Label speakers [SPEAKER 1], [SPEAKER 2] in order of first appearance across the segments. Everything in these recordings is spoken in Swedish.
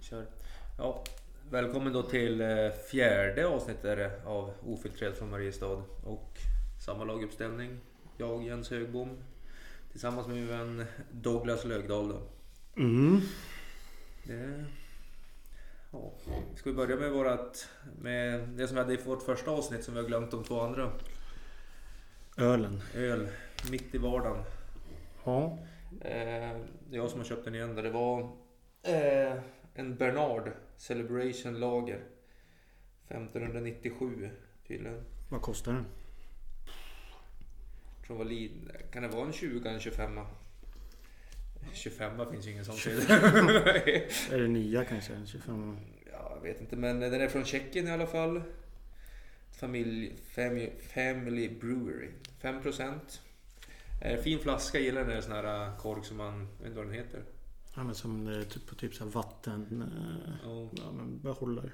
[SPEAKER 1] Kör. Ja, välkommen då till eh, fjärde avsnittet är det av Ofiltrerad från Mariestad. Och samma laguppställning. Jag, Jens Högbom. Tillsammans med min vän Douglas Lögdahl då.
[SPEAKER 2] Mm.
[SPEAKER 1] Det... Ja. Ska vi börja med vårat... Med det som vi hade i vårt första avsnitt som vi har glömt de två andra.
[SPEAKER 2] Ölen.
[SPEAKER 1] Öl. Mitt i vardagen.
[SPEAKER 2] Ja.
[SPEAKER 1] Eh, det är jag som har köpt den igen. Det var eh, en Bernard Celebration Lager. 1597 tydligen.
[SPEAKER 2] Vad kostar den?
[SPEAKER 1] Jag tror det var lin... Kan det vara en 20 en 25 25 finns ju ingen sån till.
[SPEAKER 2] Är det nia kanske? En 25?
[SPEAKER 1] ja, jag vet inte men den är från Tjeckien i alla fall. Familj, family, family Brewery. 5%. Eh, fin flaska, jag gillar den där sån här eh, kork som man... Jag vet inte vad den heter.
[SPEAKER 2] Ja men som det är typ på typ så här vatten... eh,
[SPEAKER 1] Ja,
[SPEAKER 2] Ja men behållare.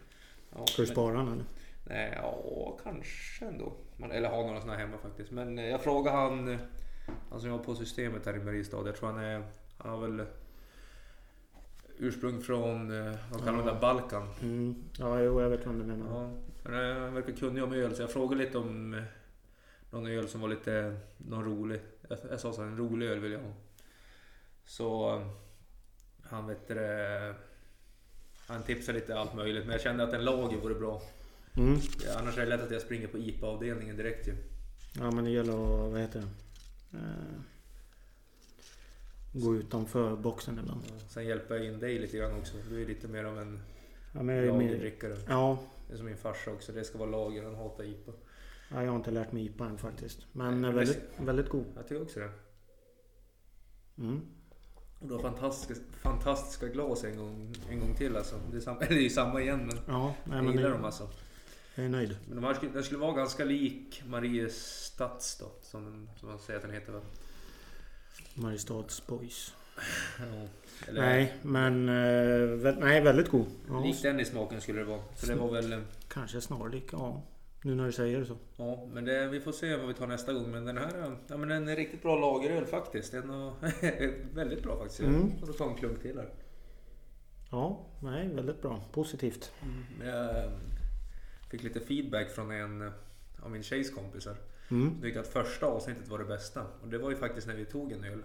[SPEAKER 1] ja,
[SPEAKER 2] Ska du
[SPEAKER 1] men-
[SPEAKER 2] spara den eller?
[SPEAKER 1] Nej, Eh, ja, kanske ändå. Man, eller har några såna här hemma faktiskt. Men eh, jag frågade han, eh, han som jobbar på systemet här i Mariestad. Jag tror han är, han har väl ursprung från, eh, vad kallar man det,
[SPEAKER 2] Ja.
[SPEAKER 1] Balkan.
[SPEAKER 2] Mm. Ja jo jag vet vad du menar.
[SPEAKER 1] Ja, men, eh, han verkar kunnig om öl så jag frågade lite om eh, någon öl som var lite, någon rolig. Jag, jag sa så här, en rolig öl vill jag ha. Så eh, han vet du det, han tipsade lite allt möjligt men jag kände att en lager vore bra.
[SPEAKER 2] Mm.
[SPEAKER 1] Ja, annars är det lätt att jag springer på IPA-avdelningen direkt ju.
[SPEAKER 2] Ja men det gäller att, vad heter det? Eh, gå utanför boxen ibland.
[SPEAKER 1] Sen hjälper jag in dig lite grann också. Du är lite mer av en
[SPEAKER 2] Ja men jag är mer...
[SPEAKER 1] lagerdrickare.
[SPEAKER 2] Ja.
[SPEAKER 1] Det är som min farsa också. Det ska vara lager. Han hatar IPA.
[SPEAKER 2] ja, jag har inte lärt mig IPA än faktiskt. Men
[SPEAKER 1] Nej,
[SPEAKER 2] eh,
[SPEAKER 1] men
[SPEAKER 2] väldigt, väldigt god.
[SPEAKER 1] Jag tycker också det.
[SPEAKER 2] Mm.
[SPEAKER 1] Och du har fantastiska, fantastiska glas en gång, en gång till alltså. Det är, samma, eller det är ju samma igen men
[SPEAKER 2] Ja, nej,
[SPEAKER 1] jag
[SPEAKER 2] men
[SPEAKER 1] gillar
[SPEAKER 2] det-
[SPEAKER 1] dem alltså.
[SPEAKER 2] jag är nöjd.
[SPEAKER 1] Men de här skulle, den skulle vara ganska lik Mariestads då. Som, den- som man säger att den heter va?
[SPEAKER 2] Mariestads boys.
[SPEAKER 1] Ja, Eller,
[SPEAKER 2] Nej men... eh, vä- nej väldigt god. Ja,
[SPEAKER 1] Lik den i smaken skulle det vara. Så det var väl... eh,
[SPEAKER 2] Kanske snarlik, ja. Nu när du säger det så.
[SPEAKER 1] Ja, men det, vi får se vad vi tar nästa gång. Men den här ja, men den är riktigt bra lageröl faktiskt. Den är väldigt bra faktiskt.
[SPEAKER 2] Mm.
[SPEAKER 1] Jag får ta en klunk till här.
[SPEAKER 2] Ja, nej, väldigt bra. Positivt.
[SPEAKER 1] Men Jag eh, fick lite feedback från en av min tjejs kompisar.
[SPEAKER 2] Mm.
[SPEAKER 1] Hon tyckte att första avsnittet var det bästa. Och det var ju faktiskt när vi tog en öl.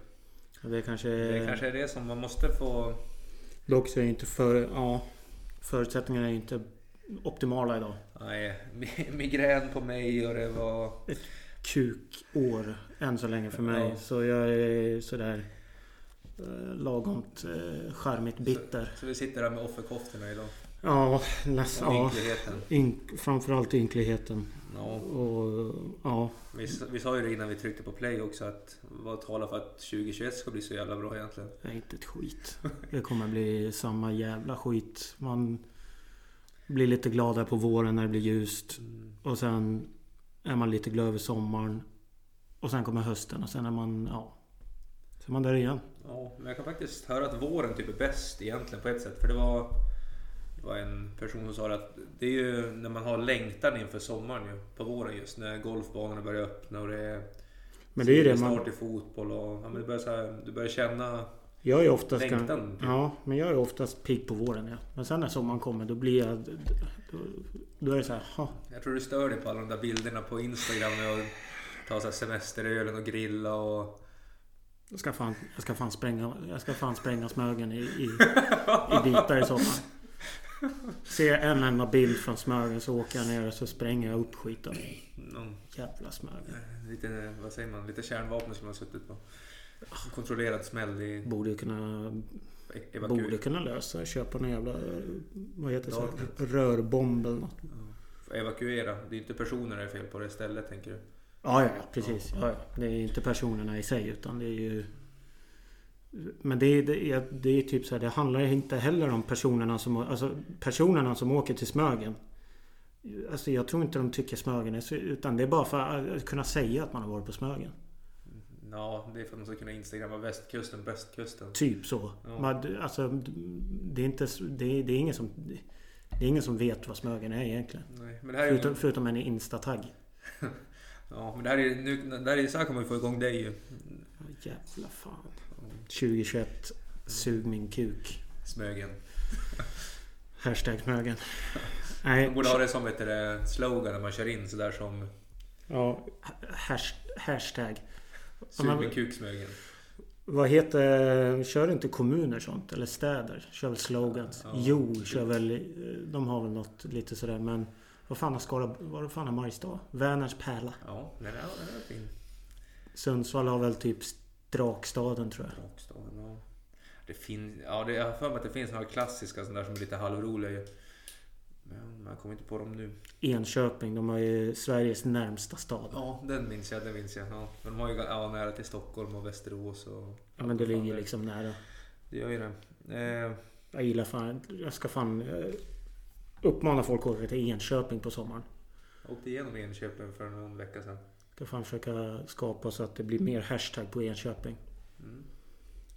[SPEAKER 2] Det kanske...
[SPEAKER 1] Det kanske är det som man måste få...
[SPEAKER 2] Dock så är inte för... Ja, förutsättningarna är inte optimala idag.
[SPEAKER 1] Nej, mi- migrän på mig och det var...
[SPEAKER 2] Kukår än så länge för mig.
[SPEAKER 1] Ja.
[SPEAKER 2] Så jag är sådär... Eh, lagomt eh, charmigt bitter.
[SPEAKER 1] Så vi sitter här med offerkoftorna idag.
[SPEAKER 2] Ja, nästan.
[SPEAKER 1] Och
[SPEAKER 2] Ja.
[SPEAKER 1] ynkligheten.
[SPEAKER 2] Ynk, framförallt ynkligheten.
[SPEAKER 1] Ja.
[SPEAKER 2] Och ja,
[SPEAKER 1] Vi, s- vi sa ju det innan vi tryckte på play också att vad talar för att 2021 ska bli så jävla bra egentligen?
[SPEAKER 2] det är inte ett skit. Det kommer bli samma jävla skit. Man blir lite glad här på våren när det blir ljust. Och sen är man lite glad över sommaren. Och sen kommer hösten och sen är man, ja. Så är man där igen.
[SPEAKER 1] Ja, men jag kan faktiskt höra att våren typ är bäst egentligen på ett sätt. För det var, det var en person som sa det att det är ju när man har längtan inför sommaren ju, på våren just. När golfbanorna börjar öppna och det är
[SPEAKER 2] Men det är ju det
[SPEAKER 1] start
[SPEAKER 2] man...
[SPEAKER 1] i fotboll och ja, men det börjar så här, du börjar känna...
[SPEAKER 2] Jag är oftast...
[SPEAKER 1] Längtan, typ.
[SPEAKER 2] ja, men jag är oftast pigg på våren ja. Men sen när sommaren kommer då blir jag... Då, då är det så här, ha.
[SPEAKER 1] Jag tror du stör dig på alla de där bilderna på Instagram när jag tar så här semesterölen och grilla och...
[SPEAKER 2] Jag ska fan, jag ska fan spränga, jag ska fan spränga Smögen i, i, i bitar i sommar. Ser jag en enda bild från Smögen så åker jag ner och så spränger jag upp skiten.
[SPEAKER 1] Mm,
[SPEAKER 2] Jävla Smögen.
[SPEAKER 1] lite, vad säger man, lite kärnvapen som man har suttit på. Kontrollerad smäll i...
[SPEAKER 2] Borde ju kunna,
[SPEAKER 1] evaku-
[SPEAKER 2] borde kunna lösa. Köpa någon jävla... Vad heter det? så här,
[SPEAKER 1] Darknet.
[SPEAKER 2] Rörbomb eller något.
[SPEAKER 1] Evakuera. Det är inte personer det är fel på det stället tänker du?
[SPEAKER 2] Ja, ja, ja precis. Ja, ja. Det är inte personerna i sig utan det är ju... Men det är, det är, det är typ så här, det handlar inte heller om personerna som, alltså personerna som åker till Smögen. Alltså jag tror inte de tycker Smögen är så, utan det är bara för att kunna säga att man har varit på Smögen.
[SPEAKER 1] Ja, det är för att man ska kunna instagramma västkusten, bästkusten.
[SPEAKER 2] Typ så.
[SPEAKER 1] Ja.
[SPEAKER 2] Man, alltså, det är inte, det är, det är ingen som... Det är ingen som vet vad Smögen är egentligen.
[SPEAKER 1] Nej, men det här är
[SPEAKER 2] Förutom,
[SPEAKER 1] ju...
[SPEAKER 2] förutom en instatagg.
[SPEAKER 1] Ja, men det här är nu, det här är så här kommer vi få igång dig ju.
[SPEAKER 2] Ja, Jävla fan. 2021. Sug min kuk.
[SPEAKER 1] Smögen.
[SPEAKER 2] Hashtag Smögen. Nej,
[SPEAKER 1] Man borde ha det som vet du, det, slogan när man kör in sådär som
[SPEAKER 2] ja, hash, hashtag.
[SPEAKER 1] Sug
[SPEAKER 2] men-
[SPEAKER 1] med kuksmögen.
[SPEAKER 2] Vad heter... Kör inte kommuner sånt? Eller städer? Kör väl slogans?
[SPEAKER 1] Ja.
[SPEAKER 2] Jo, kör väl... eh, De har väl något lite sådär men... Vad fan har Skara... Vad fan har Mariestad? Vänerns pärla.
[SPEAKER 1] Ja, den är, den är fin.
[SPEAKER 2] Sundsvall har väl typ Drakstaden tror jag.
[SPEAKER 1] Rakstaden, ja. Det finns, ja, det, jag har för mig att det finns några klassiska sådana där som är lite halvroliga ju. Men jag kommer inte på dem nu.
[SPEAKER 2] Enköping. De har ju Sveriges närmsta stad.
[SPEAKER 1] Ja, den minns jag, den minns jag. Ja. Men de har ju ja, nära till Stockholm och Västerås och...
[SPEAKER 2] Ja, men det
[SPEAKER 1] Fan,
[SPEAKER 2] ligger liksom nära.
[SPEAKER 1] Det gör ju det. Eh,
[SPEAKER 2] Jag gillar fan... Jag ska fan... eh, Uppmana folk att åka till Enköping på sommaren.
[SPEAKER 1] jag åkte igenom Enköping för någon vecka sedan.
[SPEAKER 2] Ska fan försöka skapa så att det blir mer hashtag på Enköping.
[SPEAKER 1] Mm.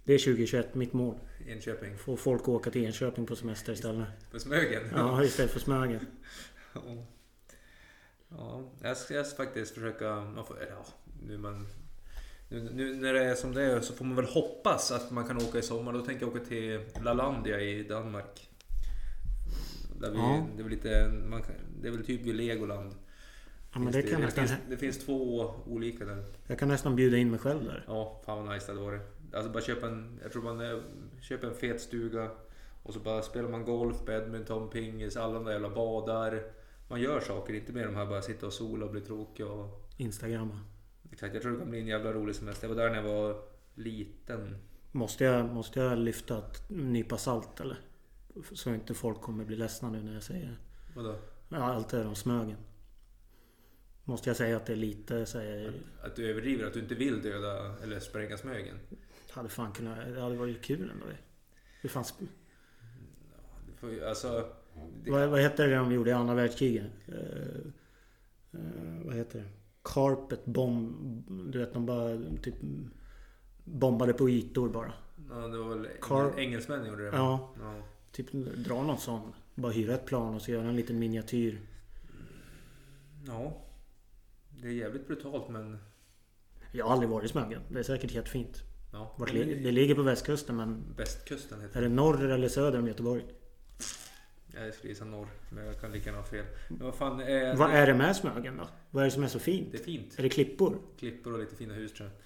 [SPEAKER 2] Det är 2021, mitt mål.
[SPEAKER 1] Enköping.
[SPEAKER 2] Få folk att åka till Enköping på semester istället.
[SPEAKER 1] På Smögen.
[SPEAKER 2] Ja, istället för Smögen.
[SPEAKER 1] Ja. Ja, jag ska, jag ska faktiskt försöka... Man får, eller ja, nu, man, nu, nu när det är som det är så får man väl hoppas att man kan åka i sommar. Då tänker jag åka till Lalandia i Danmark. Där vi,
[SPEAKER 2] Ja.
[SPEAKER 1] det, är väl lite, man, kan- det är väl typ vid Legoland.
[SPEAKER 2] Ja, men
[SPEAKER 1] Finns
[SPEAKER 2] det kan jag
[SPEAKER 1] det,
[SPEAKER 2] nästan...
[SPEAKER 1] finns, det finns två olika där.
[SPEAKER 2] Jag kan nästan bjuda in mig själv där.
[SPEAKER 1] Ja, fan vad nice det hade varit. Alltså bara köpa en, jag tror man eh, köper en fet stuga och så bara spelar man golf, badminton, pingis, alla de där jävla badar. Man gör saker, inte med de här bara sitta och sola och bli tråkig och...
[SPEAKER 2] Instagramma.
[SPEAKER 1] Exakt, jag tror det kan bli en jävla rolig semester. Jag var där när jag var liten.
[SPEAKER 2] Måste jag, måste jag lyfta ett nypa salt eller? Så inte folk kommer bli ledsna nu när jag säger det.
[SPEAKER 1] Vadå?
[SPEAKER 2] Ja, allt det där om Smögen. Måste jag säga att det är lite så här,
[SPEAKER 1] Att du överdriver, att du inte vill döda eller spränga Smögen.
[SPEAKER 2] Hade fan kunnat... Det hade varit kul ändå. Det fanns,
[SPEAKER 1] Du får ju- Alltså... Det,
[SPEAKER 2] vad, vad hette det de gjorde i andra världskriget? Eh, eh, vad heter det? Carpet bomb... Du vet, de bara typ... Bombade på ytor bara.
[SPEAKER 1] ja, det var väl
[SPEAKER 2] Carl-
[SPEAKER 1] engel, engelsmän gjorde det?
[SPEAKER 2] Ja,
[SPEAKER 1] ja.
[SPEAKER 2] typ dra någon sån. Bara hyra ett plan och så göra en liten miniatyr.
[SPEAKER 1] Ja. Det är jävligt brutalt men...
[SPEAKER 2] Jag har aldrig varit i Smögen. Det är säkert helt fint.
[SPEAKER 1] Ja.
[SPEAKER 2] Vart ligger, det ligger på västkusten men...
[SPEAKER 1] Västkusten heter
[SPEAKER 2] Är det norr eller söder om Göteborg?
[SPEAKER 1] Jag skulle gissa norr, men jag kan lika gärna ha fel. Men vad fan, eh,
[SPEAKER 2] Vad
[SPEAKER 1] det,
[SPEAKER 2] är det med Smögen då? Vad är det som är så
[SPEAKER 1] det
[SPEAKER 2] fint?
[SPEAKER 1] är fint.
[SPEAKER 2] Är det klippor?
[SPEAKER 1] Klippor och lite fina hus tror jag.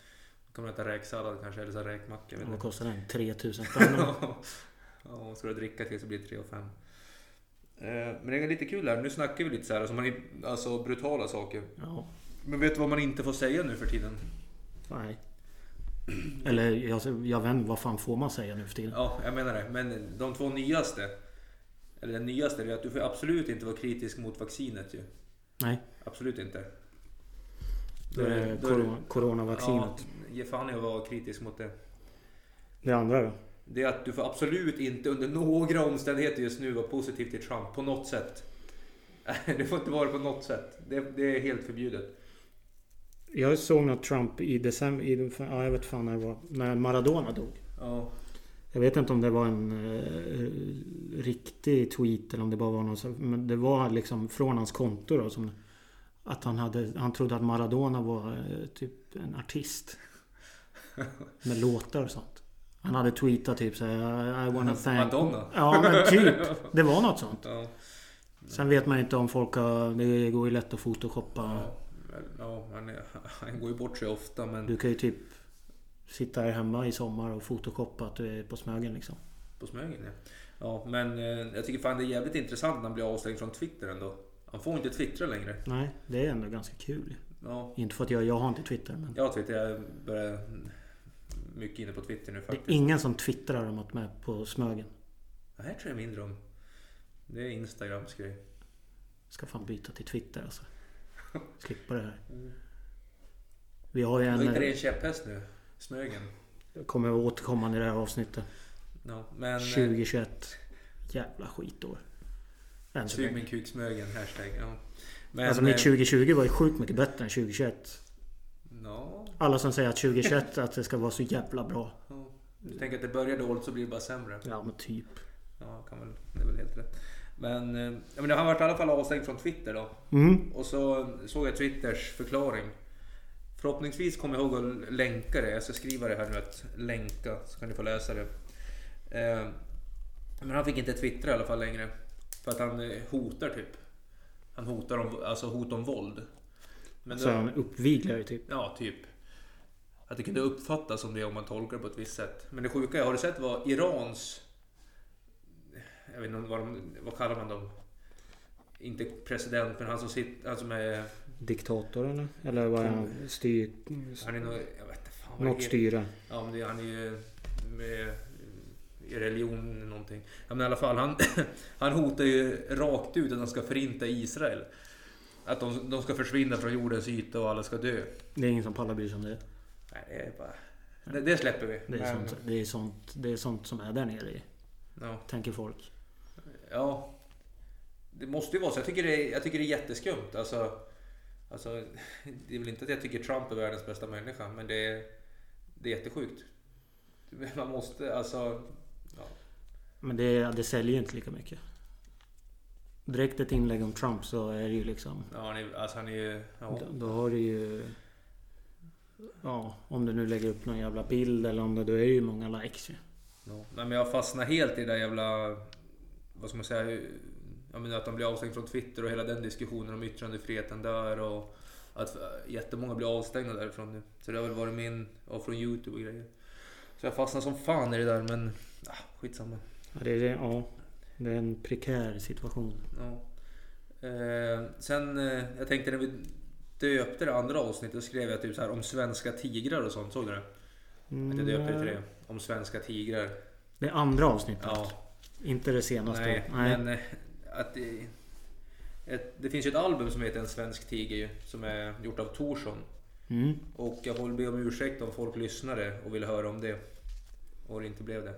[SPEAKER 1] Då kan man äta räksallad kanske, eller så här räkmacka. Vet
[SPEAKER 2] Vad
[SPEAKER 1] inte.
[SPEAKER 2] kostar den? 3000 spänn?
[SPEAKER 1] ja, och ska du dricka till så blir det 3 och fem. Eh, men det är lite kul här, nu snackar vi lite så här, alltså, man, är- alltså brutala saker.
[SPEAKER 2] Ja.
[SPEAKER 1] Men vet du vad man inte får säga nu för tiden?
[SPEAKER 2] Nej. Eller jag, jag vet inte, vad fan får man säga nu för tiden?
[SPEAKER 1] Ja, jag menar det. Men de två nyaste, eller den nyaste, det är att du får absolut inte vara kritisk mot vaccinet ju.
[SPEAKER 2] Nej.
[SPEAKER 1] Absolut inte.
[SPEAKER 2] Då är det
[SPEAKER 1] då är det-
[SPEAKER 2] corona, coronavaccinet.
[SPEAKER 1] Ja, ge fan i att vara kritisk mot det.
[SPEAKER 2] Det andra då?
[SPEAKER 1] Det är att du får absolut inte under några omständigheter just nu vara positiv till Trump på något sätt. Det får inte vara på något sätt. Det, det är helt förbjudet.
[SPEAKER 2] Jag såg något Trump i december... I, ja, jag vet fan när det var. När Maradona dog.
[SPEAKER 1] Ja.
[SPEAKER 2] Jag vet inte om det var en eh, riktig tweet eller om det bara var någon sån- Men det var liksom från hans konto då som... Att han, hade, han trodde att Maradona var eh, typ en artist. Med låtar och sånt. Han hade tweetat typ såhär... I wanna thank...
[SPEAKER 1] Madonna.
[SPEAKER 2] Ja men typ. Det var något sånt.
[SPEAKER 1] Ja.
[SPEAKER 2] Sen vet man inte om folk har... Det går ju lätt att photoshoppa.
[SPEAKER 1] Ja. men- ja, han, är, han går ju bort sig ofta men
[SPEAKER 2] Du kan ju typ sitta här hemma i sommar och photoshoppa att du är på Smögen liksom.
[SPEAKER 1] på Smögen ja. ja men eh, jag tycker fan det är jävligt intressant när han blir avstängd från Twitter ändå. Han får inte twittra längre.
[SPEAKER 2] Nej, det är ändå ganska kul.
[SPEAKER 1] Ja.
[SPEAKER 2] Inte för att jag, jag har inte Twitter men...
[SPEAKER 1] Jag Twitter, jag börjar mycket inne på Twitter nu
[SPEAKER 2] Det är
[SPEAKER 1] faktiskt.
[SPEAKER 2] ingen som twittrar om att med på Smögen.
[SPEAKER 1] Det här tror jag mindre om. Det är Instagrams grej.
[SPEAKER 2] Ska fan byta till Twitter alltså. Slippa det här. Vi har ju
[SPEAKER 1] Var inte det
[SPEAKER 2] en...
[SPEAKER 1] en käpphäst nu? Smögen?
[SPEAKER 2] Jag kommer att återkomma i det här avsnittet.
[SPEAKER 1] Ja, men... eh,
[SPEAKER 2] 2021. Jävla skitår. Än så
[SPEAKER 1] Sug
[SPEAKER 2] länge.
[SPEAKER 1] min kuk Smögen, hashtag. Ja. Men...
[SPEAKER 2] Alltså mitt
[SPEAKER 1] eh,
[SPEAKER 2] 2020 var ju sjukt mycket bättre än 2021.
[SPEAKER 1] Ja,
[SPEAKER 2] Alla som säger att 2021 att det ska vara så jävla bra.
[SPEAKER 1] ja. Du tänker att det börjar dåligt så blir det bara sämre.
[SPEAKER 2] Ja men typ.
[SPEAKER 1] Ja, kan väl, det är väl helt rätt. Men, eh, ja, men han varit i alla fall avstängd från Twitter då.
[SPEAKER 2] Mm.
[SPEAKER 1] Och så såg jag Twitters förklaring. Förhoppningsvis kommer jag ihåg att länka det. Jag ska skriva det här nu att länka så kan ni få läsa det. Eh, Men han fick inte twittra i alla fall längre. För att han eh, hotar typ. Han hotar om, alltså hot om våld. Men
[SPEAKER 2] Så
[SPEAKER 1] då-
[SPEAKER 2] han uppviglare typ.
[SPEAKER 1] Ja, typ. Att det kunde uppfattas som det om man tolkar det på ett visst sätt. Men det sjuka är, har du sett vad Irans... Jag vet inte vad de... Vad kallar man dem? Inte president, men han som sitter... Han som är...
[SPEAKER 2] Diktator eller? Eller vad är han? Styr...
[SPEAKER 1] Han är nog... Jag vet inte fan Mm. vad det
[SPEAKER 2] Något
[SPEAKER 1] heter.
[SPEAKER 2] styre.
[SPEAKER 1] Ja, men det, han är ju med, i religion eller någonting. Ja, men i alla fall, han, han hotar ju rakt ut att han ska förinta Israel. Att de, de ska försvinna från jordens yta och alla ska dö.
[SPEAKER 2] Det är ingen som pallar bryr sig om det.
[SPEAKER 1] Nej, det är bara... Det, det släpper vi.
[SPEAKER 2] Det är,
[SPEAKER 1] Men-
[SPEAKER 2] sånt, det, är sånt, det är sånt som är där nere i.
[SPEAKER 1] Ja.
[SPEAKER 2] Tänker folk.
[SPEAKER 1] ja. Det måste ju vara så. Jag tycker det är, jag tycker det är jätteskumt. Alltså, alltså, det är väl inte att jag tycker Trump är världens bästa människa, men det är, det är jättesjukt. Man måste alltså... Ja.
[SPEAKER 2] Men det, det säljer ju inte lika mycket. Direkt ett inlägg om Trump så är det ju liksom...
[SPEAKER 1] Ja, han är, alltså han är ju... Ja.
[SPEAKER 2] Då, då har du ju... Ja, om du nu lägger upp någon jävla bild eller om det... Då är det ju många likes ju.
[SPEAKER 1] Ja. Nej, men jag fastnar helt i det där jävla... Vad ska man säga? Jag menar att de blir avstängda från Twitter och hela den diskussionen om yttrandefriheten där och att jättemånga blir avstängda därifrån nu. Så det har väl varit min... Och från Youtube och grejer. Så jag fastnar som fan i det där men... Ah, skitsamma.
[SPEAKER 2] Ja, det är, det- ja, det är en prekär situation.
[SPEAKER 1] Ja. Eh, sen, eh, jag tänkte när vi döpte det andra avsnittet så skrev jag typ så här om svenska tigrar och sånt. Såg du det? Att jag döpte det till det. Om svenska tigrar.
[SPEAKER 2] Det är andra avsnittet.
[SPEAKER 1] Ja.
[SPEAKER 2] Inte det senaste.
[SPEAKER 1] Nej,
[SPEAKER 2] Nej.
[SPEAKER 1] men eh, att det, ett, det finns ju ett album som heter En svensk tiger ju, som är gjort av Torsson.
[SPEAKER 2] Mm.
[SPEAKER 1] Och jag får be om ursäkt om folk lyssnade och ville höra om det. Och det inte blev det.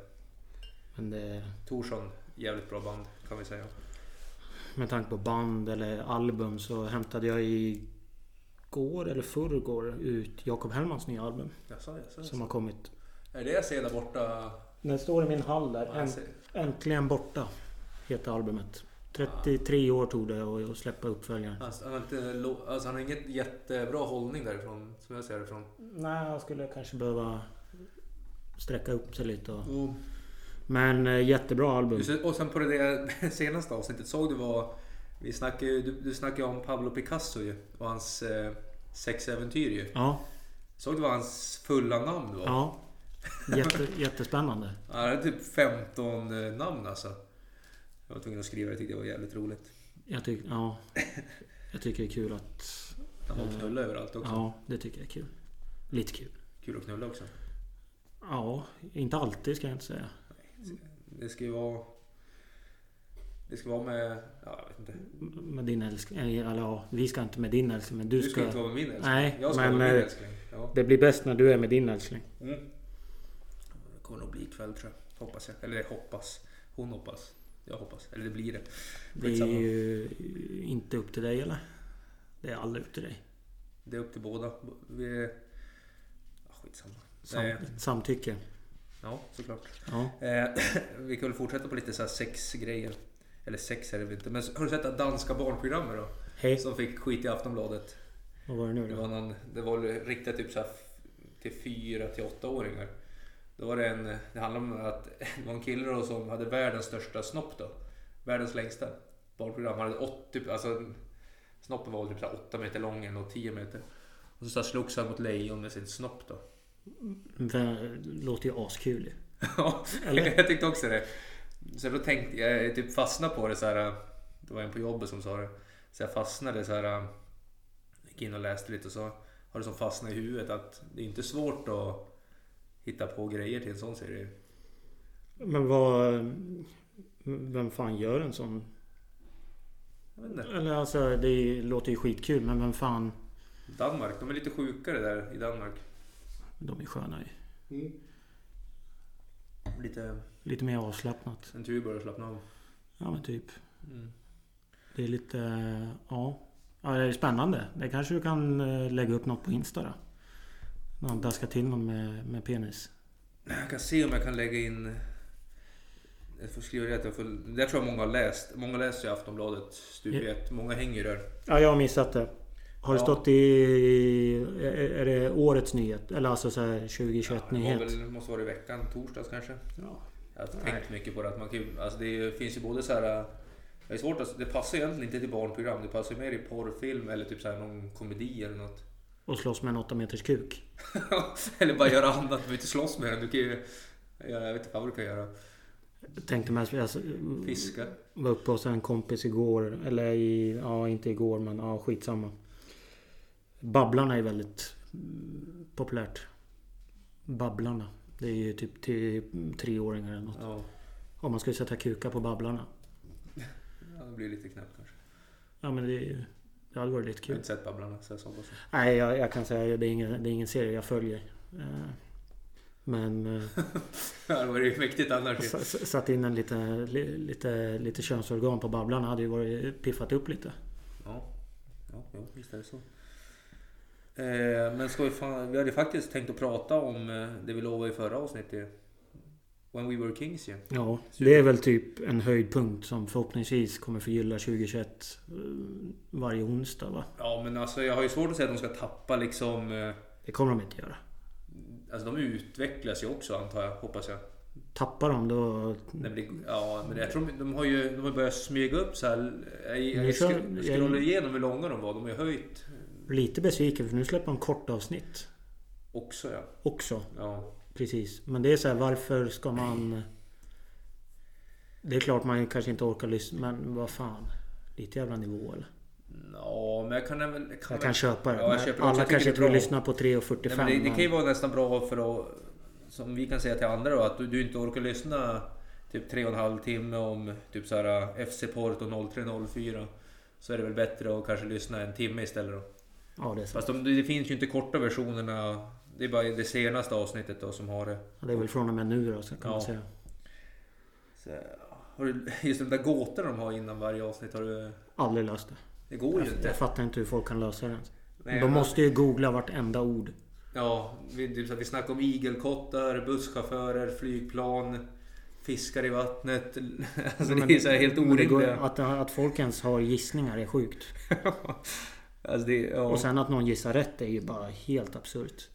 [SPEAKER 2] Men det,
[SPEAKER 1] Torsson, jävligt bra band kan vi säga.
[SPEAKER 2] med tanke på band eller album så hämtade jag i går eller förrgår ut Jakob Hellmans nya album.
[SPEAKER 1] Jaså, jaså,
[SPEAKER 2] Som
[SPEAKER 1] jaså.
[SPEAKER 2] har kommit.
[SPEAKER 1] Är det jag ser där borta?
[SPEAKER 2] Den står i min hall där.
[SPEAKER 1] Ja, jag ser.
[SPEAKER 2] Äntligen borta. Heter albumet. 33 år tog det att att släppa uppföljaren.
[SPEAKER 1] Han, han, har inte, lo- alltså han har inget jättebra hållning därifrån, som jag ser det från.
[SPEAKER 2] Nej, jag skulle kanske behöva sträcka upp sig lite. Och... Men eh, jättebra album.
[SPEAKER 1] Just det, Och sen på det där senaste avsnittet såg du vad... Vi snackade, ju- du, du snackade ju om Pablo Picasso ju, och hans eh, sexäventyr ju.
[SPEAKER 2] Ja,
[SPEAKER 1] Såg du vad hans fulla namn var? Ja.
[SPEAKER 2] ja. Jätte, jättespännande.
[SPEAKER 1] Han hade typ 15 eh, namn alltså. Jag var tvungen att skriva det, jag tyckte det var jävligt roligt.
[SPEAKER 2] Jag, tyck, ja, jag tycker det är kul att...
[SPEAKER 1] Han var och
[SPEAKER 2] Mm.
[SPEAKER 1] knullade överallt också.
[SPEAKER 2] Ja, det tycker jag är kul. Lite kul.
[SPEAKER 1] Kul att knulla också.
[SPEAKER 2] Ja, inte alltid ska jag inte säga.
[SPEAKER 1] Det ska ju vara... Det ska vara med... Ja, jag vet inte.
[SPEAKER 2] M- Med din älskling. Eller ja, vi ska inte med din älskling. Men du,
[SPEAKER 1] Du ska, inte vara med min älskling.
[SPEAKER 2] Nej,
[SPEAKER 1] jag ska
[SPEAKER 2] men,
[SPEAKER 1] vara med min
[SPEAKER 2] eh,
[SPEAKER 1] älskling. Ja.
[SPEAKER 2] Det blir bäst när du är med din älskling.
[SPEAKER 1] Mm. Det kommer nog bli ikväll tror jag. Hoppas jag. Eller hoppas. Hon hoppas. Jag hoppas. Eller det blir det.
[SPEAKER 2] Det är ju inte upp till dig eller? Det är aldrig upp till dig.
[SPEAKER 1] Det är upp till båda. Vi... Ja, skitsamma.
[SPEAKER 2] Sam,
[SPEAKER 1] Eh,
[SPEAKER 2] Samtycke.
[SPEAKER 1] Ja, såklart.
[SPEAKER 2] Ja.
[SPEAKER 1] Eh, vi kan väl fortsätta på lite så här sexgrejer. Eller sex är det väl inte. Men har du sett det här danska barnprogrammet då?
[SPEAKER 2] Hej.
[SPEAKER 1] Som fick skit i Aftonbladet.
[SPEAKER 2] Vad var det nu
[SPEAKER 1] Det
[SPEAKER 2] då?
[SPEAKER 1] var, någon, det var väl riktat typ så här f- till fyra till åttaåringar. Då var det en, det handlade om att det var en kille då som hade världens största snopp då. Världens längsta barnprogram. Han hade åt, typ, alltså, snoppen var väl typ så här åtta meter lång eller något, tio meter. Och så, så här slogs han mot lejon med sin snopp då.
[SPEAKER 2] Det låter ju askul ju.
[SPEAKER 1] Ja,
[SPEAKER 2] Eller?
[SPEAKER 1] jag tyckte också det. Så då tänkte jag, jag typ fastnade på det så här. Det var en på jobbet som sa det. Så jag fastnade så här. Gick in och läste lite och så har det som fastnat i huvudet att det är inte svårt att hitta på grejer till en sån serie.
[SPEAKER 2] Men vad... Vem fan gör en sån?
[SPEAKER 1] Jag vet inte.
[SPEAKER 2] Eller alltså det låter ju skitkul men vem fan...
[SPEAKER 1] Danmark, de är lite sjukare där i Danmark.
[SPEAKER 2] De är sköna ju.
[SPEAKER 1] Lite
[SPEAKER 2] Lite mer avslappnat.
[SPEAKER 1] en tur börjar slappna av.
[SPEAKER 2] Ja men typ.
[SPEAKER 1] Mm.
[SPEAKER 2] Det är lite... Ja. ja det är spännande. Det kanske du kan eh, lägga upp något på Insta då? När han daskar till någon med, med penis.
[SPEAKER 1] Jag kan se om jag kan lägga in... Jag får skriva det att jag får... Det tror jag många har läst. Många läser ju Aftonbladet stup i ett. Många hänger ju där.
[SPEAKER 2] Ja, jag har missat det. Har det
[SPEAKER 1] Ja.
[SPEAKER 2] stått i... Är är det årets nyhet? Eller alltså så här 2021
[SPEAKER 1] Ja, det var
[SPEAKER 2] nyhet?
[SPEAKER 1] väl, måste vara i veckan, torsdags kanske.
[SPEAKER 2] Ja.
[SPEAKER 1] Jag har tänkt mycket på det. Att man kan, ju- alltså det är ju- finns ju både så här Det är svårt att, det passar egentligen inte till barnprogram. Det passar ju mer i porrfilm eller typ så här någon komedi eller något.
[SPEAKER 2] Och slåss med en 8 meters kuk.
[SPEAKER 1] eller bara göra annat. Du behöver inte slåss med den. Du kan ju göra, jag vet inte vad du kan göra.
[SPEAKER 2] Tänkte mest... Alltså,
[SPEAKER 1] Fiska.
[SPEAKER 2] var uppe hos en kompis igår. Eller i, ja, inte igår men ja, skitsamma. Babblarna är väldigt mm, populärt. Babblarna. Det är ju typ till treåringar eller något.
[SPEAKER 1] Ja,
[SPEAKER 2] Om man skulle sätta kuka på Babblarna.
[SPEAKER 1] ja, det blir lite knäppt kanske.
[SPEAKER 2] Ja men det, är ju- det hade varit lite
[SPEAKER 1] Jag har
[SPEAKER 2] kul.
[SPEAKER 1] inte sett Babblarna så jag sa bara så.
[SPEAKER 2] Nej jag, jag kan säga det är ingen, det är ingen serie jag följer. Eh, Men... eh,
[SPEAKER 1] Ja, Det var ju mäktigt annars. ju.
[SPEAKER 2] S- s- Satt in en lite, li- lite, lite könsorgan på Babblarna hade ju varit piffat upp lite.
[SPEAKER 1] Ja, ja, ja visst är det så. Eh, men ska vi, fan, vi hade faktiskt tänkt att prata om eh, det vi lovade i förra avsnittet. When we were kings ju.
[SPEAKER 2] Ja, det är väl typ en höjdpunkt som förhoppningsvis kommer förgylla 2021 eh, varje onsdag va?
[SPEAKER 1] Ja men alltså jag har ju svårt att säga att de ska tappa liksom... eh,
[SPEAKER 2] Det kommer de inte göra.
[SPEAKER 1] Alltså de utvecklas ju också antar jag, hoppas jag.
[SPEAKER 2] Tappar de då...
[SPEAKER 1] Det blir, ja men jag tror de- de har ju de har börjat smyga upp så här. Jag, jag,
[SPEAKER 2] Nu
[SPEAKER 1] jag
[SPEAKER 2] kör-
[SPEAKER 1] skro-
[SPEAKER 2] jag-
[SPEAKER 1] scrollar igenom hur långa de var. De har ju höjt
[SPEAKER 2] Lite besviken för nu släpper de korta avsnitt
[SPEAKER 1] också ja.
[SPEAKER 2] också.
[SPEAKER 1] ja.
[SPEAKER 2] Precis. Men det är så här, varför ska man... Det är klart man kanske inte orkar lyssna men vad fan. Lite jävla nivå eller?
[SPEAKER 1] Ja men jag kan väl... Jag
[SPEAKER 2] Jag
[SPEAKER 1] kan, väl-
[SPEAKER 2] kan köpa det.
[SPEAKER 1] Ja, jag
[SPEAKER 2] men
[SPEAKER 1] köper det också.
[SPEAKER 2] Alla
[SPEAKER 1] Jag tycker
[SPEAKER 2] kanske
[SPEAKER 1] det är
[SPEAKER 2] inte vill
[SPEAKER 1] bra.
[SPEAKER 2] lyssna på 3.45.
[SPEAKER 1] Nej, men det, det
[SPEAKER 2] men-
[SPEAKER 1] kan ju vara nästan bra för att... Som vi kan säga till andra då, att du, du inte orkar lyssna typ tre och en halv timme om typ så här FC Porto 0304. Så är det väl bättre att kanske lyssna en timme istället då.
[SPEAKER 2] Ja, det är så.
[SPEAKER 1] Fast de, det finns ju inte korta versionerna. Det är bara det senaste avsnittet då som har det.
[SPEAKER 2] Ja, Det är väl från och med nu då, så kan man
[SPEAKER 1] Ja.
[SPEAKER 2] säga.
[SPEAKER 1] Så, har du, just de där gåtorna de har innan varje avsnitt. Har du,
[SPEAKER 2] Aldrig löst det.
[SPEAKER 1] det går ju
[SPEAKER 2] Alltså, Jag
[SPEAKER 1] inte.
[SPEAKER 2] fattar inte hur folk kan lösa det. ens.
[SPEAKER 1] Nej,
[SPEAKER 2] De
[SPEAKER 1] men-
[SPEAKER 2] måste ju googla vartenda ord.
[SPEAKER 1] Ja, vi, typ så att vi snackar om igelkottar, busschaufförer, flygplan, fiskar i vattnet. Alltså
[SPEAKER 2] Men-
[SPEAKER 1] det är så här helt
[SPEAKER 2] men det går-
[SPEAKER 1] orimliga.
[SPEAKER 2] Att, att folk ens har gissningar är sjukt.
[SPEAKER 1] alltså det, ja.
[SPEAKER 2] Och sen att någon gissar rätt är ju bara helt absurt.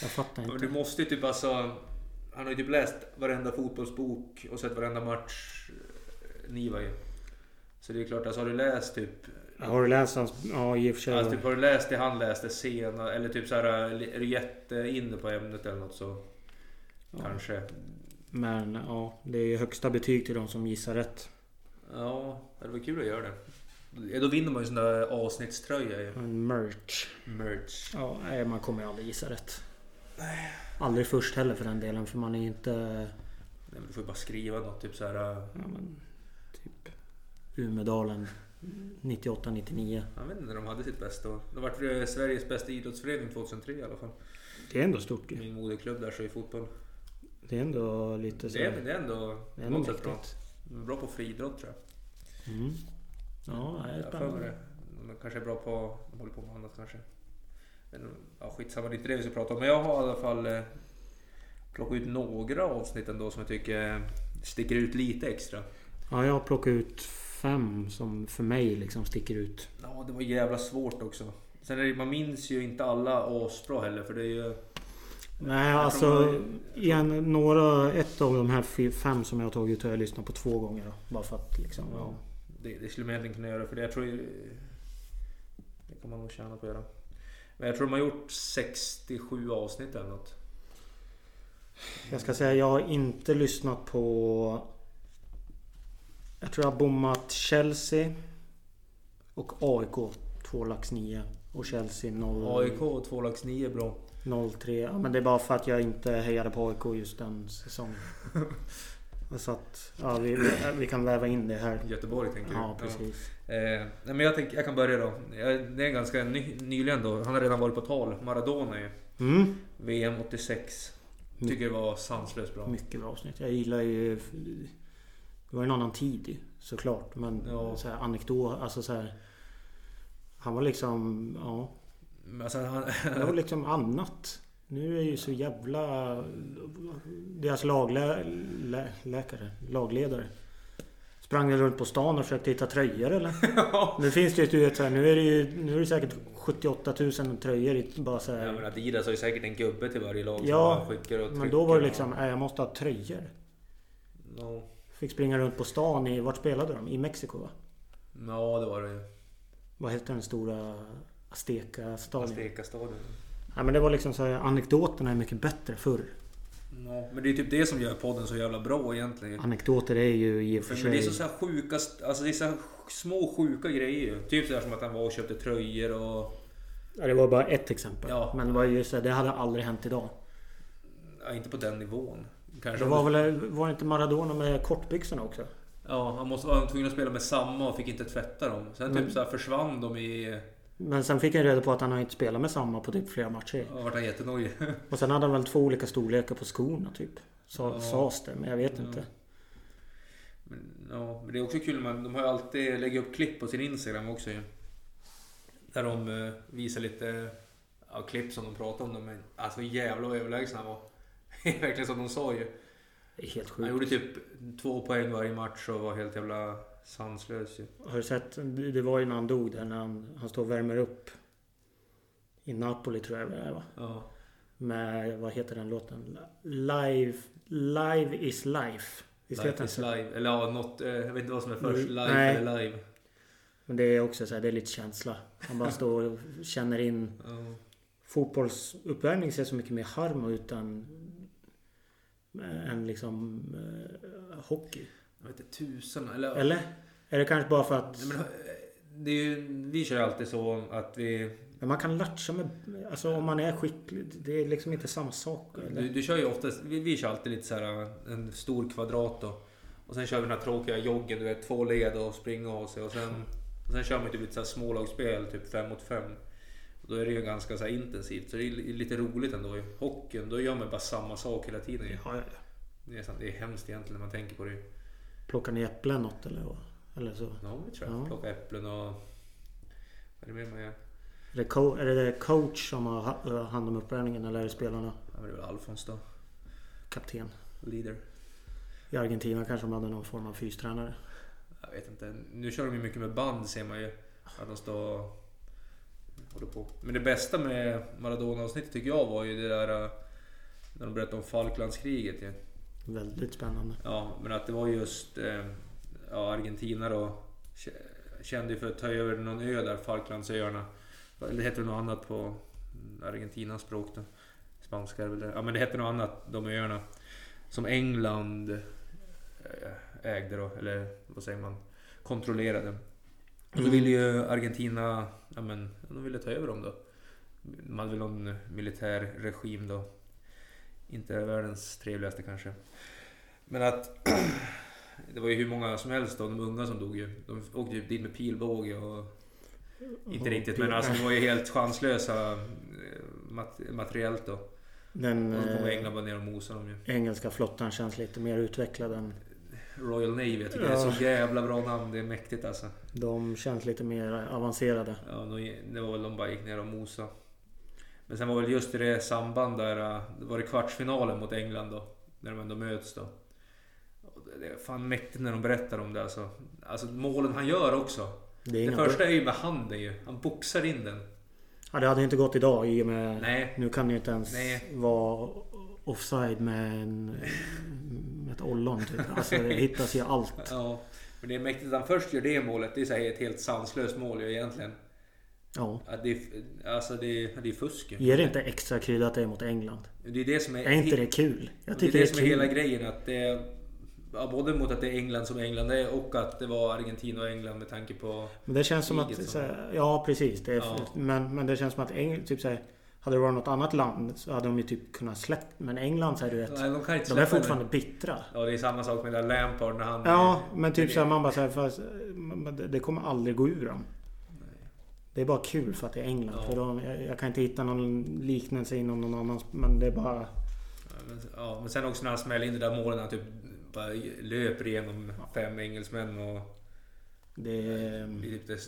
[SPEAKER 2] Jag fattar
[SPEAKER 1] Men
[SPEAKER 2] inte.
[SPEAKER 1] Du måste ju typ alltså... Han har ju typ läst varenda fotbollsbok och sett varenda match. eh, Niva ju. Så det är klart, alltså har du läst typ...
[SPEAKER 2] Har du läst hans... Ja, i och för sig.
[SPEAKER 1] Alltså typ har du läst det han läste senare eller typ så här är du jätteinne på ämnet eller något så... Kanske.
[SPEAKER 2] Men ja, det är ju högsta betyg till de som gissar rätt.
[SPEAKER 1] Ja, det var kul att göra det. Ja, Då vinner man ju sån där avsnittströja ju.
[SPEAKER 2] En merch.
[SPEAKER 1] Merch.
[SPEAKER 2] Ja, nej, man kommer ju aldrig gissa rätt. Aldrig först heller för den delen, för man är ju inte...
[SPEAKER 1] Nej, men du får ju bara skriva något typ så här. äh,
[SPEAKER 2] Ja, men, typ Umedalen 98-99.
[SPEAKER 1] Jag vet inte när de hade sitt bästa år. De vart ju Sveriges bästa idrottsförening 2003 i alla fall.
[SPEAKER 2] Det är ändå stort ju.
[SPEAKER 1] Min moderklubb där så i fotboll.
[SPEAKER 2] Det är ändå lite så...
[SPEAKER 1] Det är, det är ändå
[SPEAKER 2] det är
[SPEAKER 1] på
[SPEAKER 2] ändå
[SPEAKER 1] något sätt bra.
[SPEAKER 2] mäktigt.
[SPEAKER 1] De är Bra på friidrott tror jag.
[SPEAKER 2] Mm. Ja, det
[SPEAKER 1] Jag
[SPEAKER 2] är
[SPEAKER 1] har för mig
[SPEAKER 2] spännande.
[SPEAKER 1] det. De kanske är bra på... De håller på med annat kanske. Men, ja, skitsamma, det är inte det vi ska prata om. Men jag har i alla fall eh, plockat ut några avsnitt ändå som jag tycker eh, sticker ut lite extra.
[SPEAKER 2] Ja, jag plockar ut fem som för mig liksom sticker ut.
[SPEAKER 1] Ja, det var jävla svårt också. Sen är det, man minns ju inte alla asbra heller för det är ju...
[SPEAKER 2] Nej,
[SPEAKER 1] tror
[SPEAKER 2] alltså...
[SPEAKER 1] man-
[SPEAKER 2] Igen, några... Ett av de här fy- fem som jag har tagit ut har jag lyssnat på två gånger. Då, bara för att liksom... Ja.
[SPEAKER 1] Det, det skulle man egentligen kunna göra för det jag tror ju... Det kan man nog tjäna på att göra. Men jag tror de har gjort 67 avsnitt eller något.
[SPEAKER 2] Jag ska säga, jag har inte lyssnat på... Jag tror jag har bommat Chelsea och AIK. Två lax 9 och Chelsea 0,
[SPEAKER 1] AIK och 2 lax 9 är bra.
[SPEAKER 2] 03. Ja, men det är bara för att jag inte hejade på AIK just den säsongen. Och Så att, ja, vi, vi kan väva in det här.
[SPEAKER 1] Göteborg tänker du?
[SPEAKER 2] Ja, precis.
[SPEAKER 1] Ja. Eh, nej, men jag, tänker, jag kan börja då. Jag, det är ganska ny, nyligen då. Han har redan varit på tal. Maradona ju.
[SPEAKER 2] Mm.
[SPEAKER 1] VM 86. Tycker det var sanslöst bra.
[SPEAKER 2] Mycket bra avsnitt. Jag gillar ju... Det var en annan tid ju, såklart. Men
[SPEAKER 1] Ja.
[SPEAKER 2] så här, anekdot, alltså så här... Han var liksom... Ja,
[SPEAKER 1] Men Alltså, han,
[SPEAKER 2] Det var liksom annat. Nu är ju så jävla... Deras laglä, lä, läkare, lagledare. Sprang väl runt på stan och försökte hitta tröjor eller? Nu finns det ju du vet, så här, nu är det ju nu är det säkert 78 000 tröjor i bara så
[SPEAKER 1] Ja, men
[SPEAKER 2] här.
[SPEAKER 1] Adidas har ju säkert en gubbe till varje lag
[SPEAKER 2] Eh, Ja,
[SPEAKER 1] som han skickar och
[SPEAKER 2] Men då var det
[SPEAKER 1] trycker.
[SPEAKER 2] liksom, nej jag måste ha tröjor.
[SPEAKER 1] Ja.
[SPEAKER 2] Fick springa runt på stan i... Vart spelade de? I Mexiko va?
[SPEAKER 1] Ja, det var det ju.
[SPEAKER 2] Vad hette den stora Azteca-stadion?
[SPEAKER 1] Aztecastadion.
[SPEAKER 2] Ja, men det var liksom så här, anekdoterna är mycket bättre förr.
[SPEAKER 1] Ja, men det är typ det som gör podden så jävla bra egentligen.
[SPEAKER 2] Anekdoter är ju i och för
[SPEAKER 1] För men det är
[SPEAKER 2] sig...
[SPEAKER 1] så, så här sjuka, alltså det är så här små sjuka grejer ju. Typ sådär som att han var och köpte tröjor och...
[SPEAKER 2] Ja, det var bara ett exempel.
[SPEAKER 1] Ja.
[SPEAKER 2] Men det, var ju så här, det hade aldrig hänt idag.
[SPEAKER 1] Ja, inte på den nivån.
[SPEAKER 2] Det
[SPEAKER 1] Kanske om
[SPEAKER 2] var väl... Var det inte Maradona med kortbyxorna också?
[SPEAKER 1] Ja, han måste vara tvungen att spela med samma och fick inte tvätta dem. Sen typ så här försvann de i...
[SPEAKER 2] Men sen fick jag reda på att han har inte spelat med samma på typ flera matcher.
[SPEAKER 1] Ja, vart han jättenojig.
[SPEAKER 2] Och sen hade han väl två olika storlekar på skorna typ. Sa, Sades det, men jag vet inte.
[SPEAKER 1] Men, ja, men det är också kul, man, de har ju alltid lägger upp klipp på sin Instagram också ju. Där de eh, visar lite ja, klipp som de pratar om. De är, alltså jävla överlägsna han var. Det är verkligen som de sa ju.
[SPEAKER 2] Det är helt
[SPEAKER 1] Han
[SPEAKER 2] sjukt.
[SPEAKER 1] gjorde typ två poäng varje match och var helt jävla sanslös ju.
[SPEAKER 2] Har du sett? Det var ju när han dog där när han, han står och värmer upp. I Napoli tror jag det är va?
[SPEAKER 1] Ja.
[SPEAKER 2] Med, vad heter den låten? Live, live is life. Visst heter
[SPEAKER 1] Life
[SPEAKER 2] den
[SPEAKER 1] is
[SPEAKER 2] så?
[SPEAKER 1] live. Eller ja, något, eh, jag vet inte vad som är först.
[SPEAKER 2] alltså. Mm,
[SPEAKER 1] Live
[SPEAKER 2] nej.
[SPEAKER 1] eller live.
[SPEAKER 2] Men det är också så här, det är lite känsla. Han bara står och känner in.
[SPEAKER 1] Ja.
[SPEAKER 2] Fotbollsuppvärmning ser så mycket mer harm ut än, än liksom eh, hockey.
[SPEAKER 1] Jag vet inte, tusen eller?
[SPEAKER 2] Eller? Är det kanske bara för att
[SPEAKER 1] Nej, men, eh, det är ju, vi kör ju alltid så att vi...
[SPEAKER 2] men man kan latcha med... Alltså om man är skicklig. Det är liksom inte samma sak. Eller?
[SPEAKER 1] Du, du kör ju oftast, vi, vi kör alltid lite så här äh, en stor kvadrat då. Och sen kör vi den här tråkiga joggen, du vet två led och springa av sig. Och sen, och sen kör man typ lite så här smålagsspel, typ fem mot fem. Och då är det ju ganska så här intensivt, så det är li- lite roligt ändå. ju. Hockeyn, då gör man bara samma sak hela tiden. ju.
[SPEAKER 2] Ja, ja, ja.
[SPEAKER 1] Det är, sant, det är hemskt egentligen när man tänker på det.
[SPEAKER 2] Plockar ni äpplen något eller, vad? eller så?
[SPEAKER 1] Ja, det tror jag.
[SPEAKER 2] Ja.
[SPEAKER 1] Plocka äpplen och... Vad är det mer man gör?
[SPEAKER 2] Är det, co- är det coach som har ha- hand om uppvärmningen eller är det spelarna?
[SPEAKER 1] Ja, men det är väl Alfons då.
[SPEAKER 2] Kapten?
[SPEAKER 1] Leader.
[SPEAKER 2] I Argentina kanske de hade någon form av fystränare.
[SPEAKER 1] Jag vet inte. Nu kör de ju mycket med band ser man ju. Att de står och håller på. Men det bästa med Maradona-avsnittet tycker jag var ju det där eh, när de berättade om Falklandskriget ju.
[SPEAKER 2] Väldigt spännande.
[SPEAKER 1] Ja, men att det var just eh, ja, Argentina då. k- Kände ju för att ta över någon ö där, Falklandsöarna. Eller heter det något annat på Argentinas språk då? Spanska är väl det. Ja men det hette något annat, de öarna. Som England eh, ägde då, eller vad säger man? Kontrollerade. Och
[SPEAKER 2] Mm.
[SPEAKER 1] så ville ju Argentina, ja men de ville ta över dem då. De hade väl någon militär regim då. Inte världens trevligaste kanske. Men att det var ju hur många som helst av de unga som dog ju. De åkte ju dit med pilbåge och... Inte
[SPEAKER 2] Och
[SPEAKER 1] riktigt
[SPEAKER 2] pil-
[SPEAKER 1] men alltså de var ju helt chanslösa eh, mat- materiellt då.
[SPEAKER 2] Den
[SPEAKER 1] Och så kom
[SPEAKER 2] eh,
[SPEAKER 1] England bara ner och mosade dem ju.
[SPEAKER 2] engelska flottan känns lite mer utvecklad än...
[SPEAKER 1] Royal Navy, jag tycker det är
[SPEAKER 2] Ja.
[SPEAKER 1] så jävla bra namn. Det är mäktigt alltså.
[SPEAKER 2] De känns lite mer avancerade.
[SPEAKER 1] Ja, de- det var väl de bara gick ner och mosade. Men sen var väl just i det samband där, eh, var det kvartsfinalen mot England då. När de ändå möts då. Och det- Det är fan mäktigt när de berättar om det alltså. Alltså målen han gör också.
[SPEAKER 2] Det, är
[SPEAKER 1] Det
[SPEAKER 2] inga
[SPEAKER 1] första är ju med handen ju. Han boxar in den.
[SPEAKER 2] Ja, det hade inte gått idag i och med...
[SPEAKER 1] Nej.
[SPEAKER 2] Nu kan det ju inte ens
[SPEAKER 1] Nej.
[SPEAKER 2] vara offside med, en, med ett ollon typ. Alltså det hittas ju allt.
[SPEAKER 1] Ja. Men det är mäktigt att han först gör det målet. Det är så här ett helt sanslöst mål ju egentligen.
[SPEAKER 2] Ja.
[SPEAKER 1] Att det, är- alltså det, är- det är fusk ju.
[SPEAKER 2] Ger det inte extra krydda att det är mot England?
[SPEAKER 1] Det är det som är...
[SPEAKER 2] Är inte det kul? Jag
[SPEAKER 1] Och det är
[SPEAKER 2] tycker
[SPEAKER 1] det, som är
[SPEAKER 2] kul.
[SPEAKER 1] hela grejen. Att det, ja, både mot att det är England som England är och att det var Argentina och England med tanke på...
[SPEAKER 2] Men det känns som
[SPEAKER 1] kriget
[SPEAKER 2] att... Så här, ja precis. Det är,
[SPEAKER 1] liksom. Ja.
[SPEAKER 2] men, men det känns som att England... Typ, så här, hade det varit något annat land så hade de ju typ kunnat släppt. Men England så här, du vet.
[SPEAKER 1] Nej, de kan inte
[SPEAKER 2] De är
[SPEAKER 1] släppa
[SPEAKER 2] fortfarande
[SPEAKER 1] den.
[SPEAKER 2] bittra.
[SPEAKER 1] Ja, det är samma sak med den där Lampard när han...
[SPEAKER 2] Ja, men typ
[SPEAKER 1] Eh, det-
[SPEAKER 2] såhär man bara såhär, fast, man bara, det kommer aldrig gå ur dem. Det är bara kul för att det är England.
[SPEAKER 1] Ja.
[SPEAKER 2] För de, jag, jag kan inte hitta någon liknelse inom någon annans. Men det är bara...
[SPEAKER 1] Ja, men, ja, men sen också när han smäller in det där målet när han typ bara löper igenom fem engelsmän och...
[SPEAKER 2] Det är,
[SPEAKER 1] Det är, typ det,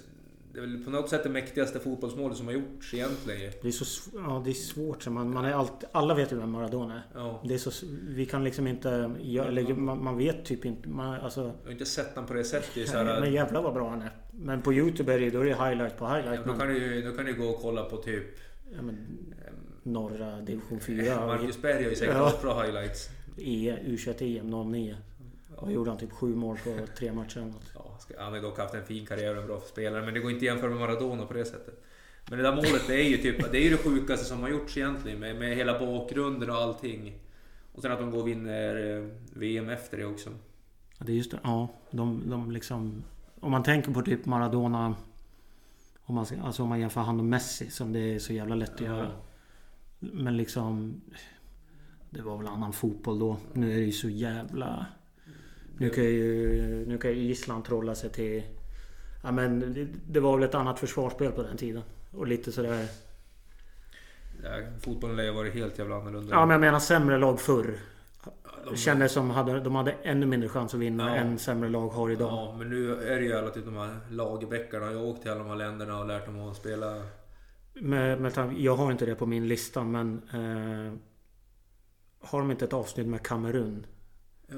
[SPEAKER 1] det är väl på något sätt det mäktigaste fotbollsmålet som har gjorts egentligen ju.
[SPEAKER 2] det är så sv- ja, det är svårt. Så man, man är allt, alla vet ju vem Maradona är.
[SPEAKER 1] Ja.
[SPEAKER 2] Det är så, s- vi kan liksom inte... Jag, eller, man, man vet typ inte. Man, alltså,
[SPEAKER 1] Jag har inte sett den på det sättet. Det är Så här,
[SPEAKER 2] men jävlar vad bra han är. Men på Youtube är det, ju- då är det highlight på highlight.
[SPEAKER 1] då, kan
[SPEAKER 2] Men,
[SPEAKER 1] du, ju- då kan du gå och kolla på typ...
[SPEAKER 2] ja, men, norra division 4.
[SPEAKER 1] Marcus Berg har ju säkert
[SPEAKER 2] Ja.
[SPEAKER 1] haft bra highlights.
[SPEAKER 2] E, U21 EM 09. Då gjorde han typ sju mål på tre matcher eller något.
[SPEAKER 1] Ja, ska- han har ju dock haft en fin karriär och en bra spelare, men det går inte att jämföra med Maradona på det sättet. Men det där målet, det är ju typ, det är ju det sjukaste som har gjorts egentligen med, med hela bakgrunden och allting. Och sen att de går och vinner eh, VM efter det också.
[SPEAKER 2] Ja, det är just det. Ja, de, de liksom... Om man tänker på typ Maradona... Om man, ska- alltså om man jämför han och Messi som det är så jävla lätt att göra. Men liksom... Det var väl annan fotboll då. Nu är det ju så jävla... Nu kan ju, nu kan ju Island trolla sig till... Ja, men det, det var väl ett annat försvarsspel på den tiden. Och lite sådär...
[SPEAKER 1] Ja, fotbollen lär ju ha varit helt jävla annorlunda.
[SPEAKER 2] Ja men jag menar sämre lag förr.
[SPEAKER 1] de-
[SPEAKER 2] Kändes som hade, de hade ännu mindre chans att vinna
[SPEAKER 1] Ja.
[SPEAKER 2] än sämre lag har idag.
[SPEAKER 1] Ja, men nu är det ju alla typ de här lagbäckarna. Jag har åkt till alla de här länderna och lärt dem att spela.
[SPEAKER 2] Med, med, tanke- jag har inte det på min lista men... Eh, har de inte ett avsnitt med Kamerun?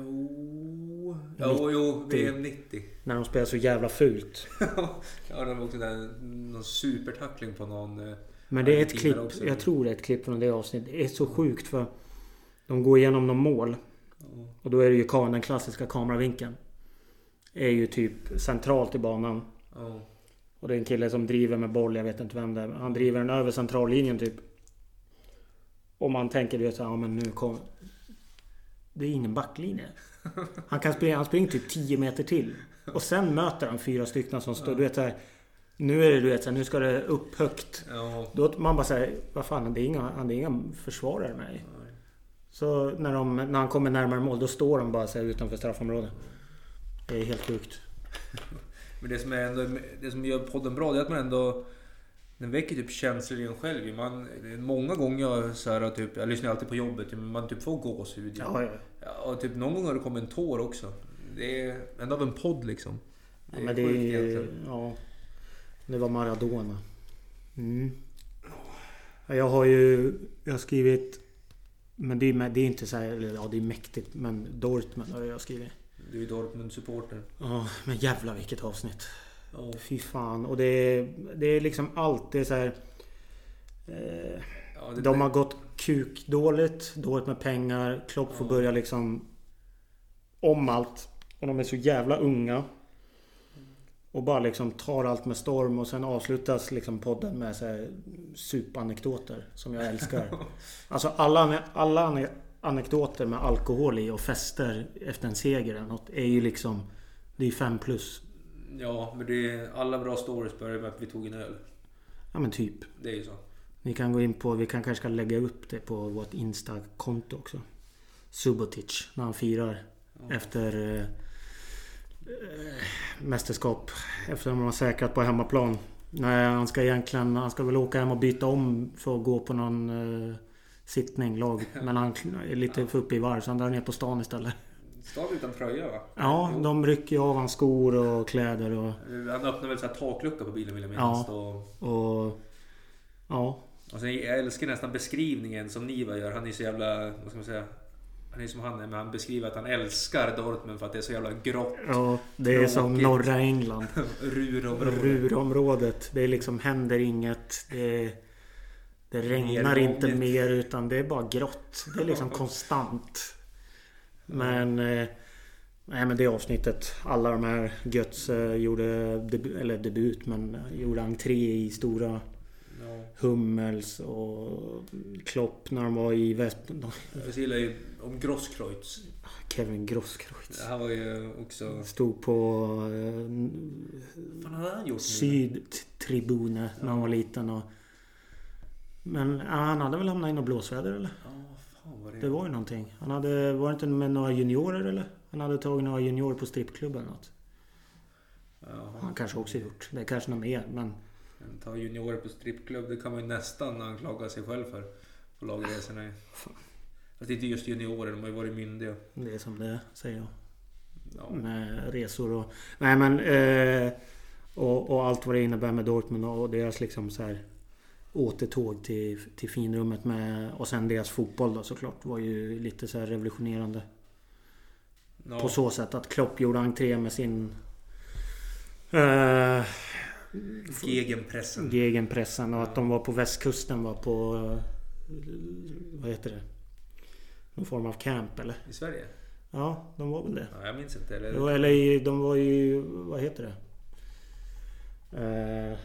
[SPEAKER 1] Jo, jo, jo VM 90.
[SPEAKER 2] När de spelar så jävla fult.
[SPEAKER 1] ja, de åkte där någon supertackling på någon. eh,
[SPEAKER 2] Men det är ett
[SPEAKER 1] Argentina
[SPEAKER 2] klipp.
[SPEAKER 1] också.
[SPEAKER 2] Jag tror det är ett klipp från det avsnittet. Det är så sjukt för... De går igenom några mål. Och då är det ju ka- den klassiska kameravinkeln. Är ju typ centralt i banan.
[SPEAKER 1] Ja,
[SPEAKER 2] Och det är en kille som driver med boll, jag vet inte vem det är. men Han driver den över centrallinjen typ. Och man tänker ju såhär, ja men nu kommer... Det är ingen backlinje. Han, kan springa, han springer typ 10 meter till. Och sen möter han fyra stycken som står... Du vet såhär... Nu är det du vet såhär, nu ska det upp högt.
[SPEAKER 1] ja.
[SPEAKER 2] Då man bara säger, vad fan, det är inga, det är inga försvarare med dig.
[SPEAKER 1] Nej.
[SPEAKER 2] Så när, de, när han kommer närmare mål, då står de bara så här utanför straffområdet. Det är helt sjukt.
[SPEAKER 1] Men det som, är ändå, det som gör podden bra det är att man ändå... Den väcker typ känslor i en själv. ju. Man, många gånger så här, typ, jag lyssnar alltid på jobbet, ju, men man typ får gåshud. ju.
[SPEAKER 2] Ja, ja.
[SPEAKER 1] Ja, och typ någon gång har det kommit en tår också. Det är ändå av en podd liksom.
[SPEAKER 2] Ja, men det är
[SPEAKER 1] sjukt
[SPEAKER 2] ju...
[SPEAKER 1] egentligen.
[SPEAKER 2] Ja. Det var Maradona. Mm. Ja, Jag har ju... Jag har skrivit... Men det är, men det är inte så här... eller Ja, det är mäktigt. Men Dortmund har jag skrivit.
[SPEAKER 1] Du är ju Dortmund-supporter.
[SPEAKER 2] Ja, men jävla vilket avsnitt.
[SPEAKER 1] Ja.
[SPEAKER 2] Fy fan. Och det är, det är liksom allt. Det är så här... Eh,
[SPEAKER 1] Ja, det,
[SPEAKER 2] De har gått kukdåligt, dåligt med pengar. Klopp får börja liksom om allt. Och de är så jävla unga. Och bara liksom tar allt med storm och sen avslutas liksom podden med så här supanekdoter som jag älskar. alltså alla, ane- alla ane- anekdoter med alkohol i och fester efter en seger eller något är ju liksom... Det är fem plus.
[SPEAKER 1] ja, men det är, alla bra stories börjar med att vi tog en öl.
[SPEAKER 2] Ja men typ.
[SPEAKER 1] Det är ju så.
[SPEAKER 2] Ni kan gå in på, vi kan kanske ska lägga upp det på vårt Insta-konto också. Subotic, när han firar efter eh, eh, mästerskap. Efter att de har säkrat på hemmaplan. Nej, han ska egentligen, han ska väl åka hem och byta om för att gå på någon eh, sittning, lag. Men han är lite för uppe i varv så han drar ner på stan istället.
[SPEAKER 1] Stad utan tröja va?
[SPEAKER 2] Ja, de rycker ju av hans skor och kläder och...
[SPEAKER 1] Han öppnade väl så här taklucka på bilen vill jag minnas. Och,
[SPEAKER 2] och ja,
[SPEAKER 1] och sen, jag älskar nästan beskrivningen som Niva gör. Han är så jävla, vad ska man säga? Han är som han är, men han beskriver att han älskar Dortmund för att det är så jävla grått.
[SPEAKER 2] ja, det är som
[SPEAKER 1] Tråkigt.
[SPEAKER 2] norra England.
[SPEAKER 1] Rurområde.
[SPEAKER 2] Rurområdet. Det är liksom händer inget. Det, det regnar
[SPEAKER 1] Nervomligt.
[SPEAKER 2] inte mer utan det är bara grått. Det är liksom konstant. Men... eh, Nej men det avsnittet. Alla de här Götz eh, gjorde debu- eller debut men gjorde entré i stora
[SPEAKER 1] Ja.
[SPEAKER 2] Hummels och Klopp när de var i Väst...
[SPEAKER 1] Jag gillar ju om Grosskreutz.
[SPEAKER 2] Kevin Grosskreutz.
[SPEAKER 1] Han var ju också...
[SPEAKER 2] Stod på eh,
[SPEAKER 1] Vad fan hade han gjort nu?
[SPEAKER 2] sydtribune när han var liten. Och... Men ja, han hade väl hamnat i något blåsväder eller?
[SPEAKER 1] Ja, vad fan var det?
[SPEAKER 2] Det var ju någonting. Han hade, var det inte med några juniorer eller? Han hade tagit några juniorer på strippklubben eller något.
[SPEAKER 1] Jaha.
[SPEAKER 2] Han kanske också gjort. Det är kanske något mer men...
[SPEAKER 1] Men Ta juniorer på strippklubb, det kan man ju nästan anklaga sig själv för. På lagresorna ju. Fast inte just juniorer, de har ju varit myndiga.
[SPEAKER 2] Det är som det är, säger jag.
[SPEAKER 1] Ja.
[SPEAKER 2] Med resor och... Nej men... Eh, och, och allt vad det innebär med Dortmund och deras liksom så här återtåg till, till finrummet med... Och sen deras fotboll då såklart var ju lite så här revolutionerande.
[SPEAKER 1] Ja.
[SPEAKER 2] På så sätt att Klopp gjorde entré med sin... Eh,
[SPEAKER 1] Gegenpressen.
[SPEAKER 2] Gegenpressen och att de var på västkusten var på... eh, Vad heter det? Någon form av camp eller?
[SPEAKER 1] I Sverige?
[SPEAKER 2] Ja, de var väl det.
[SPEAKER 1] Ja, jag minns inte. Eller,
[SPEAKER 2] Jo, eller i- de var ju... Vad heter det? Eh,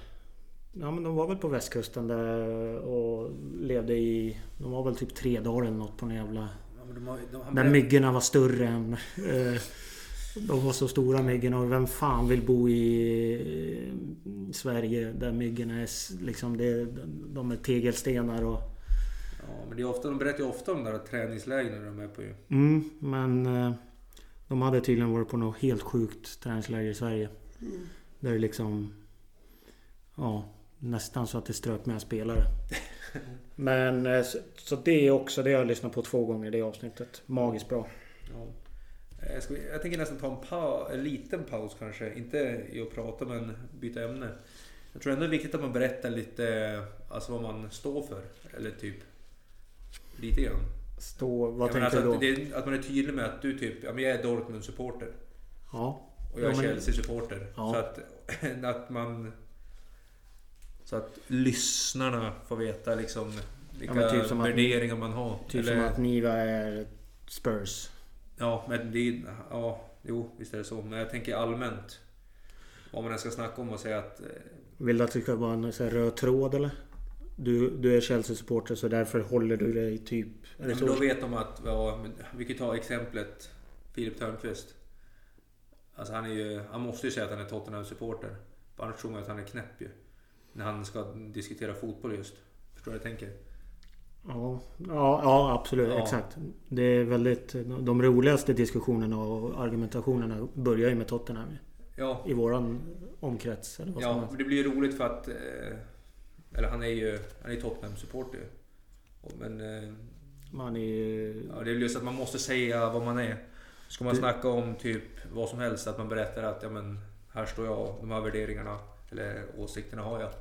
[SPEAKER 2] ja, men de var väl på västkusten där och levde i... De var väl typ tre dagar eller något på en jävla...
[SPEAKER 1] Ja, men de har, de, han
[SPEAKER 2] Där
[SPEAKER 1] berätt-
[SPEAKER 2] myggorna var större än... Eh, de var så stora myggorna och vem fan vill bo i eh, Sverige där myggorna är s- liksom... Det, de är tegelstenar och...
[SPEAKER 1] ja, men det är ofta, de berättar ju ofta om de där träningslägren de är på ju.
[SPEAKER 2] Mm, men eh, de hade tydligen varit på något helt sjukt träningsläger i Sverige.
[SPEAKER 1] Mm.
[SPEAKER 2] Där det liksom... Ja, nästan så att det ströp med en spelare. men eh, så, så det är också, det har jag lyssnat på två gånger det avsnittet. Magiskt bra.
[SPEAKER 1] Ja. Eh, Ska vi, jag tänker nästan ta en, pa, en liten paus kanske. Inte i att prata men byta ämne. Jag tror ändå det är viktigt att man berättar lite alltså vad man står för. Eller typ lite grann.
[SPEAKER 2] Stå, vad
[SPEAKER 1] Ja, men
[SPEAKER 2] tänker
[SPEAKER 1] alltså
[SPEAKER 2] du då?
[SPEAKER 1] att, det, att man är tydlig med att du typ, ja, men jag är Dortmund-supporter.
[SPEAKER 2] Ja.
[SPEAKER 1] Och jag är
[SPEAKER 2] Ja, men-
[SPEAKER 1] Chelsea-supporter.
[SPEAKER 2] Ja.
[SPEAKER 1] Så att, att man... Så att lyssnarna får veta liksom vilka
[SPEAKER 2] men typ som att-
[SPEAKER 1] värderingar man har.
[SPEAKER 2] Typ
[SPEAKER 1] Eller-
[SPEAKER 2] som att Niva är Spurs.
[SPEAKER 1] Ja, men det är... Ja, jo, visst är det så. Men jag tänker allmänt. Om man ens ska snacka om och säga att... eh,
[SPEAKER 2] Vill du att det ska vara en så här röd tråd eller? Du, du är Chelsea-supporter så därför håller du dig typ... Är det
[SPEAKER 1] Men då
[SPEAKER 2] så?
[SPEAKER 1] vet de att... Ja, men vi kan ju ta exemplet Filip Törnqvist. Alltså han är ju... Han måste ju säga att han är Tottenham-supporter. För Annars tror man att han är knäpp ju. När han ska diskutera fotboll just. Förstår du vad jag tänker?
[SPEAKER 2] Ja, ja, ja absolut.
[SPEAKER 1] Ja.
[SPEAKER 2] Exakt. Det är väldigt... De roligaste diskussionerna och argumentationerna börjar ju med Tottenham.
[SPEAKER 1] Ja,
[SPEAKER 2] I våran omkrets. Eller vad ska
[SPEAKER 1] ja
[SPEAKER 2] man
[SPEAKER 1] men det blir ju roligt för att... eh, Eller han är ju... Han är ju Tottenham-supporter ju. Och- Men... eh,
[SPEAKER 2] Man är ju...
[SPEAKER 1] Ja, det är väl just att man måste säga vad man är. Ska man
[SPEAKER 2] Det-
[SPEAKER 1] snacka om typ vad som helst, att man berättar att ja, men, här står jag, de här värderingarna eller åsikterna har jag.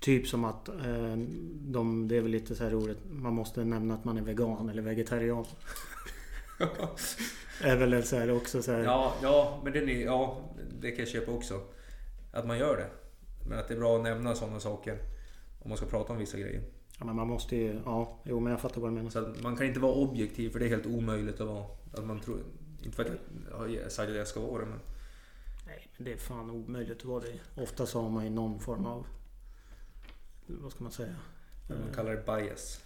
[SPEAKER 2] Typ som att... Eh, de, det är väl lite så här roligt. Man måste nämna att man är vegan eller vegetarian. är väl så här också så här...
[SPEAKER 1] Ja, ja, men det, är ny- ja, det kan jag köpa också. Att man gör det. Men att det är bra att nämna sådana saker. Om man ska prata om vissa grejer.
[SPEAKER 2] Ja, men man måste ju... Ja, jo men jag fattar vad du menar.
[SPEAKER 1] Så att man kan inte vara objektiv för det är helt omöjligt att vara. Att man tror, inte för att jag har sagt att jag ska vara det men.
[SPEAKER 2] Nej, men det är fan omöjligt att vara det. Ofta så har man ju någon form av... Vad ska man säga? Mm.
[SPEAKER 1] Man kallar det bias.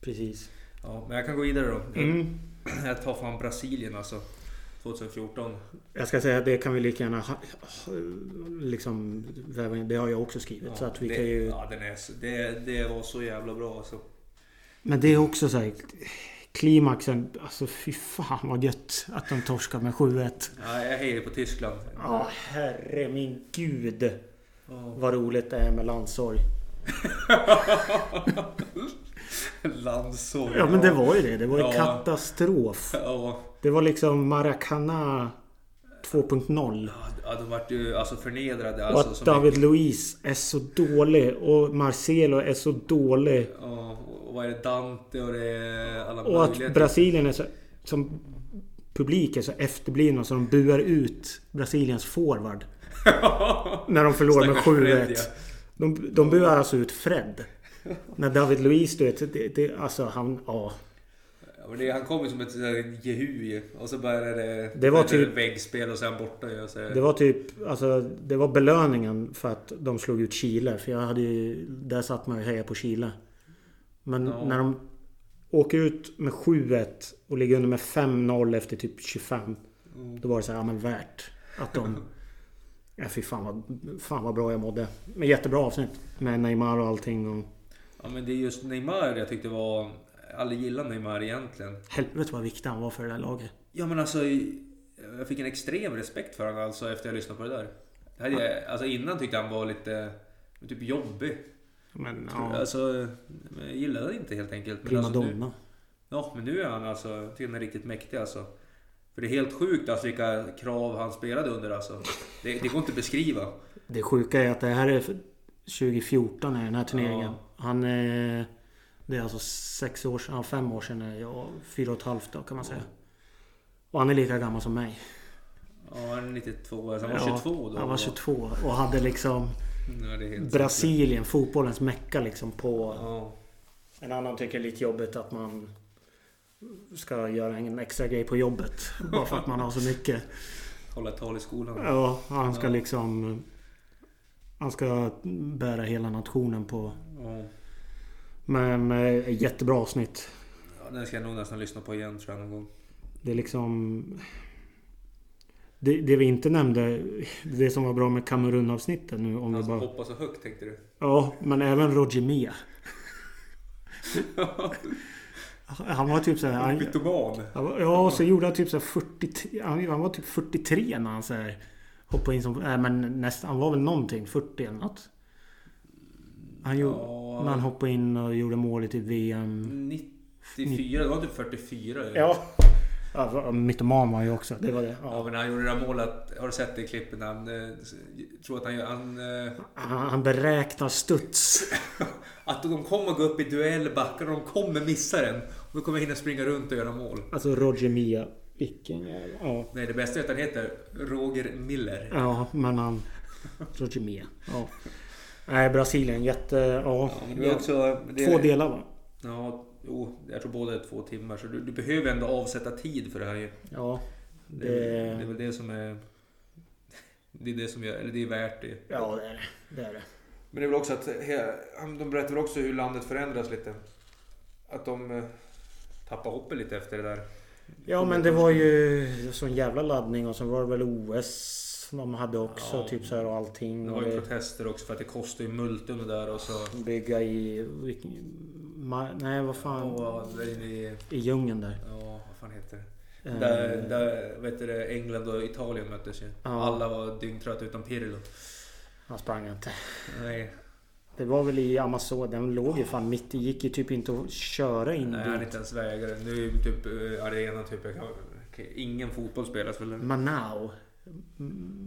[SPEAKER 2] Precis.
[SPEAKER 1] Ja, men jag kan gå vidare då.
[SPEAKER 2] Mm.
[SPEAKER 1] Jag tar fram Brasilien alltså. 2014.
[SPEAKER 2] Jag ska säga att det kan vi lika gärna ha, ha, liksom väva in. Det har jag också skrivit. så att vi
[SPEAKER 1] det,
[SPEAKER 2] kan ju...
[SPEAKER 1] ja, den är, så- det, det var så jävla bra alltså.
[SPEAKER 2] Men det är också så här... Klimaxen. Alltså fy fan vad gött att de torskar med 7-1.
[SPEAKER 1] Ja, jag hejar på Tyskland.
[SPEAKER 2] Ja, herre min gud.
[SPEAKER 1] Ja.
[SPEAKER 2] Vad roligt det är med landsorg.
[SPEAKER 1] Landssorg.
[SPEAKER 2] Ja men det var ju det. Det var ju
[SPEAKER 1] Ja.
[SPEAKER 2] katastrof.
[SPEAKER 1] Ja,
[SPEAKER 2] Det var liksom Maracana 2.0.
[SPEAKER 1] ja, de vart ju alltså förnedrade.
[SPEAKER 2] Och
[SPEAKER 1] Alltså,
[SPEAKER 2] att
[SPEAKER 1] så
[SPEAKER 2] David
[SPEAKER 1] mycket.
[SPEAKER 2] Luiz är så dålig och Marcelo är så dålig.
[SPEAKER 1] Ja, och vad är det? Dante och det är alla
[SPEAKER 2] Och att
[SPEAKER 1] möjligheter.
[SPEAKER 2] Brasilien är så, som publik är så efterblivna så de buar ut Brasiliens forward. När de förlorar med
[SPEAKER 1] Stackars Fred,
[SPEAKER 2] 7-1.
[SPEAKER 1] ja.
[SPEAKER 2] De, de buar alltså ut Fred. När David Luiz, du vet, det, det, alltså han... Ja.
[SPEAKER 1] Ja, men det, han kom ju som ett sådär jehu ju. Och så började det...
[SPEAKER 2] Det var
[SPEAKER 1] det
[SPEAKER 2] typ-
[SPEAKER 1] Väggspel och sen borta ju. och Så,
[SPEAKER 2] Det var typ, alltså det var belöningen för att de slog ut Chile. För jag hade ju, där satt man ju och hejade på Chile. Men
[SPEAKER 1] Ja.
[SPEAKER 2] när de åker ut med 7-1 och ligger under med 5-0 efter typ 25.
[SPEAKER 1] Mm.
[SPEAKER 2] Då var det så här, ja men värt att de... Ja fy fan vad, fan vad bra jag mådde. Men jättebra avsnitt. Med Neymar och allting och...
[SPEAKER 1] ja, men det är just Neymar jag tyckte var... Jag aldrig gillat Neymar egentligen.
[SPEAKER 2] Helvete vad viktig han var för det där laget.
[SPEAKER 1] Ja men alltså, jag fick en extrem respekt för honom alltså efter jag lyssnade på det där. Det hade jag, alltså innan tyckte jag han var lite typ jobbig.
[SPEAKER 2] Men ja,
[SPEAKER 1] Alltså, men jag gillade det inte helt enkelt. Men alltså, nu,
[SPEAKER 2] primadonna.
[SPEAKER 1] ja men nu är han alltså, jag tycker han är riktigt mäktig alltså. För det är helt sjukt alltså vilka krav han spelade under alltså. Det, det går inte att beskriva.
[SPEAKER 2] Det sjuka är att det här är för- 2014 är den här turneringen. Han är... Det är alltså sex år sedan, ja, fem år sedan, är jag, fyra och ett halvt då kan man säga. Och han är lika gammal som mig.
[SPEAKER 1] Ja, han är 92, alltså, han
[SPEAKER 2] Ja,
[SPEAKER 1] var 22 då.
[SPEAKER 2] Han var 22 och hade liksom
[SPEAKER 1] Ja, det är helt sjukt.
[SPEAKER 2] Brasilien, fotbollens mecka liksom på...
[SPEAKER 1] Ja.
[SPEAKER 2] En annan tycker det är lite jobbigt att man... ska göra en extra grej på jobbet. Bara för att man har så mycket.
[SPEAKER 1] Hålla ett tal i skolan.
[SPEAKER 2] Ja, han ska
[SPEAKER 1] Ja.
[SPEAKER 2] liksom... Han ska bära hela nationen på...
[SPEAKER 1] Ja.
[SPEAKER 2] Men eh, jättebra avsnitt.
[SPEAKER 1] Ja, den ska jag nog nästan lyssna på igen tror jag någon gång.
[SPEAKER 2] Det är liksom... Det, det vi inte nämnde, det som var bra med Kamerun-avsnittet nu om
[SPEAKER 1] Han
[SPEAKER 2] vi
[SPEAKER 1] som
[SPEAKER 2] bara...
[SPEAKER 1] hoppar Alltså, så högt tänkte du?
[SPEAKER 2] Ja, men även Roger Mia. Han var typ såhär... Han,
[SPEAKER 1] Pytoman.
[SPEAKER 2] han var- ja, och så gjorde han typ såhär 43... Han, han var typ 43 när han såhär... Hoppade in som... Nej, men nästan... Han var väl någonting. 40 eller något. Han gjorde...
[SPEAKER 1] Ja.
[SPEAKER 2] När han hoppade in och gjorde mål i typ VM.
[SPEAKER 1] 94, det var typ 44. ju.
[SPEAKER 2] Ja. ja alltså, mytoman var han ju också. Det var det.
[SPEAKER 1] Ja
[SPEAKER 2] Ja.
[SPEAKER 1] men han gjorde det där målet, har du sett det i klippet när han eh, tror att han gör... Han, eh,
[SPEAKER 2] Han, han beräknar studs.
[SPEAKER 1] att de kommer gå upp i duell, backar och de kommer missa den. Och då kommer jag hinna springa runt och göra mål.
[SPEAKER 2] Alltså Roger Mia. Vilken jävla... Ja.
[SPEAKER 1] Nej det bästa är att han heter Roger Miller.
[SPEAKER 2] Ja, men han... Roger Mia. Ja. Nej, Brasilien. Jätte... Ja.
[SPEAKER 1] Ja, men det var också, det,
[SPEAKER 2] Två delar va?
[SPEAKER 1] Ja, jo, jag tror båda är två timmar. Så du, du behöver ändå avsätta tid för det här ju.
[SPEAKER 2] Ja.
[SPEAKER 1] Det, är väl- det är
[SPEAKER 2] Det...
[SPEAKER 1] väl det som är... Det är det som gör, eller det är värt det.
[SPEAKER 2] Ja, det är det. Det är det.
[SPEAKER 1] Men det är väl också att, he- han- de berättar väl också hur landet förändras lite. Att de eh, tappar hoppet lite efter det där.
[SPEAKER 2] Ja, men det var ju sån jävla laddning och sen var det väl OS de hade också.
[SPEAKER 1] Ja.
[SPEAKER 2] Typ så här och allting.
[SPEAKER 1] Det
[SPEAKER 2] Och
[SPEAKER 1] var ju
[SPEAKER 2] det...
[SPEAKER 1] protester också för att det kostar ju multum och där och så...
[SPEAKER 2] Bygga i... vilken- Ma... Nej, vad fan.
[SPEAKER 1] Och där inne i...
[SPEAKER 2] I djungeln där.
[SPEAKER 1] Ja, vad fan heter det?
[SPEAKER 2] Eh,
[SPEAKER 1] Där, där vet du, det, England och Italien möttes ju.
[SPEAKER 2] Ja.
[SPEAKER 1] Alla var dyngtrötta utan Pirlo.
[SPEAKER 2] Han sprang inte.
[SPEAKER 1] Nej,
[SPEAKER 2] Det var väl i Amazon. Den låg ju fan mitt i. gick ju typ inte att köra in
[SPEAKER 1] nej han är
[SPEAKER 2] dit.
[SPEAKER 1] inte ens vägare. Nu är ju typ eh, arenan typ... jag kan- okej, Ingen fotboll spelas väl?
[SPEAKER 2] Mm.
[SPEAKER 1] där?
[SPEAKER 2] Manau.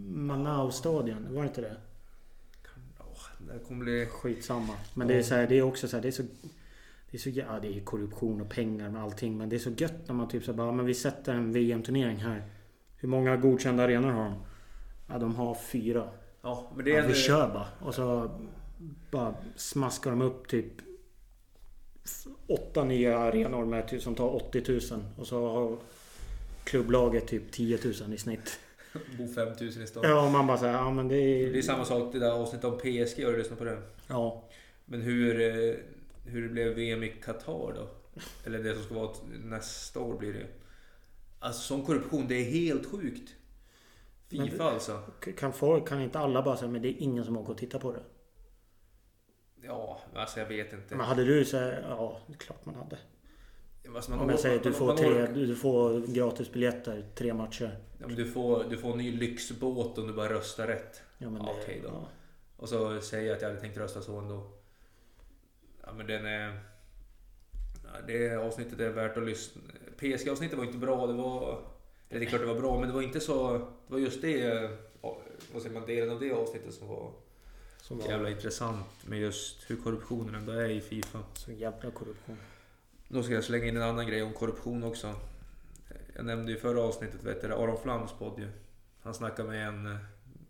[SPEAKER 2] Manau-stadion. Var det inte det?
[SPEAKER 1] Åh, det här kommer bli...
[SPEAKER 2] Skitsamma. Men det är, så här, det är också så här, det är så... Det är så ja, det är korruption och pengar med allting. Men det är så gött när man typ så här, bara, men vi sätter en VM-turnering här. Hur många godkända arenor har de? Ja, de har fyra.
[SPEAKER 1] Ja, men det är eh,
[SPEAKER 2] Ja, vi
[SPEAKER 1] ändå-
[SPEAKER 2] kör bara. Och så bara smaskar de upp typ åtta nya arenor med, typ- som tar 80 000. Och så har klubblaget typ 10 000 i snitt.
[SPEAKER 1] Bo 5000 i stan.
[SPEAKER 2] Ja, och man bara säger ja men det är...
[SPEAKER 1] Det är samma sak det där avsnittet om PSG, har du lyssnat på det?
[SPEAKER 2] Ja.
[SPEAKER 1] Men hur, eh, hur det blev VM i Qatar då? Eller det som ska vara t- nästa år blir det ju. Alltså sån korruption, det är helt sjukt.
[SPEAKER 2] Men
[SPEAKER 1] Fifa
[SPEAKER 2] det-
[SPEAKER 1] alltså.
[SPEAKER 2] K- Kan, folk, kan inte alla bara säga men det är ingen som åker och tittar på det?
[SPEAKER 1] Ja, alltså jag vet inte.
[SPEAKER 2] Men hade du så här, ja det är klart man hade.
[SPEAKER 1] Alltså, man
[SPEAKER 2] Om jag
[SPEAKER 1] or-
[SPEAKER 2] säger att du
[SPEAKER 1] man-
[SPEAKER 2] får,
[SPEAKER 1] man
[SPEAKER 2] tre,
[SPEAKER 1] orkar-
[SPEAKER 2] du får gratis biljetter tre matcher.
[SPEAKER 1] Ja, men du, får, du får en ny lyxbåt om du bara röstar rätt.
[SPEAKER 2] Ja, men det-
[SPEAKER 1] Okej då.
[SPEAKER 2] ja.
[SPEAKER 1] Och så säger jag att jag hade tänkt rösta så ändå. Ja men den är... Ja, det avsnittet är värt att lyssna. PSG-avsnittet var inte bra. Det var... Eller det är klart det var bra men det var inte så... Det var just det... ja, Vad säger man? Delen av det avsnittet som var
[SPEAKER 2] Som var
[SPEAKER 1] jävla intressant. Med just hur korruptionen ändå är i Fifa.
[SPEAKER 2] så jävla korruption.
[SPEAKER 1] Då ska jag slänga in en annan grej om korruption också. Jag nämnde ju förra avsnittet, vet du, Aron Flams podd ju. Han snackade med en eh,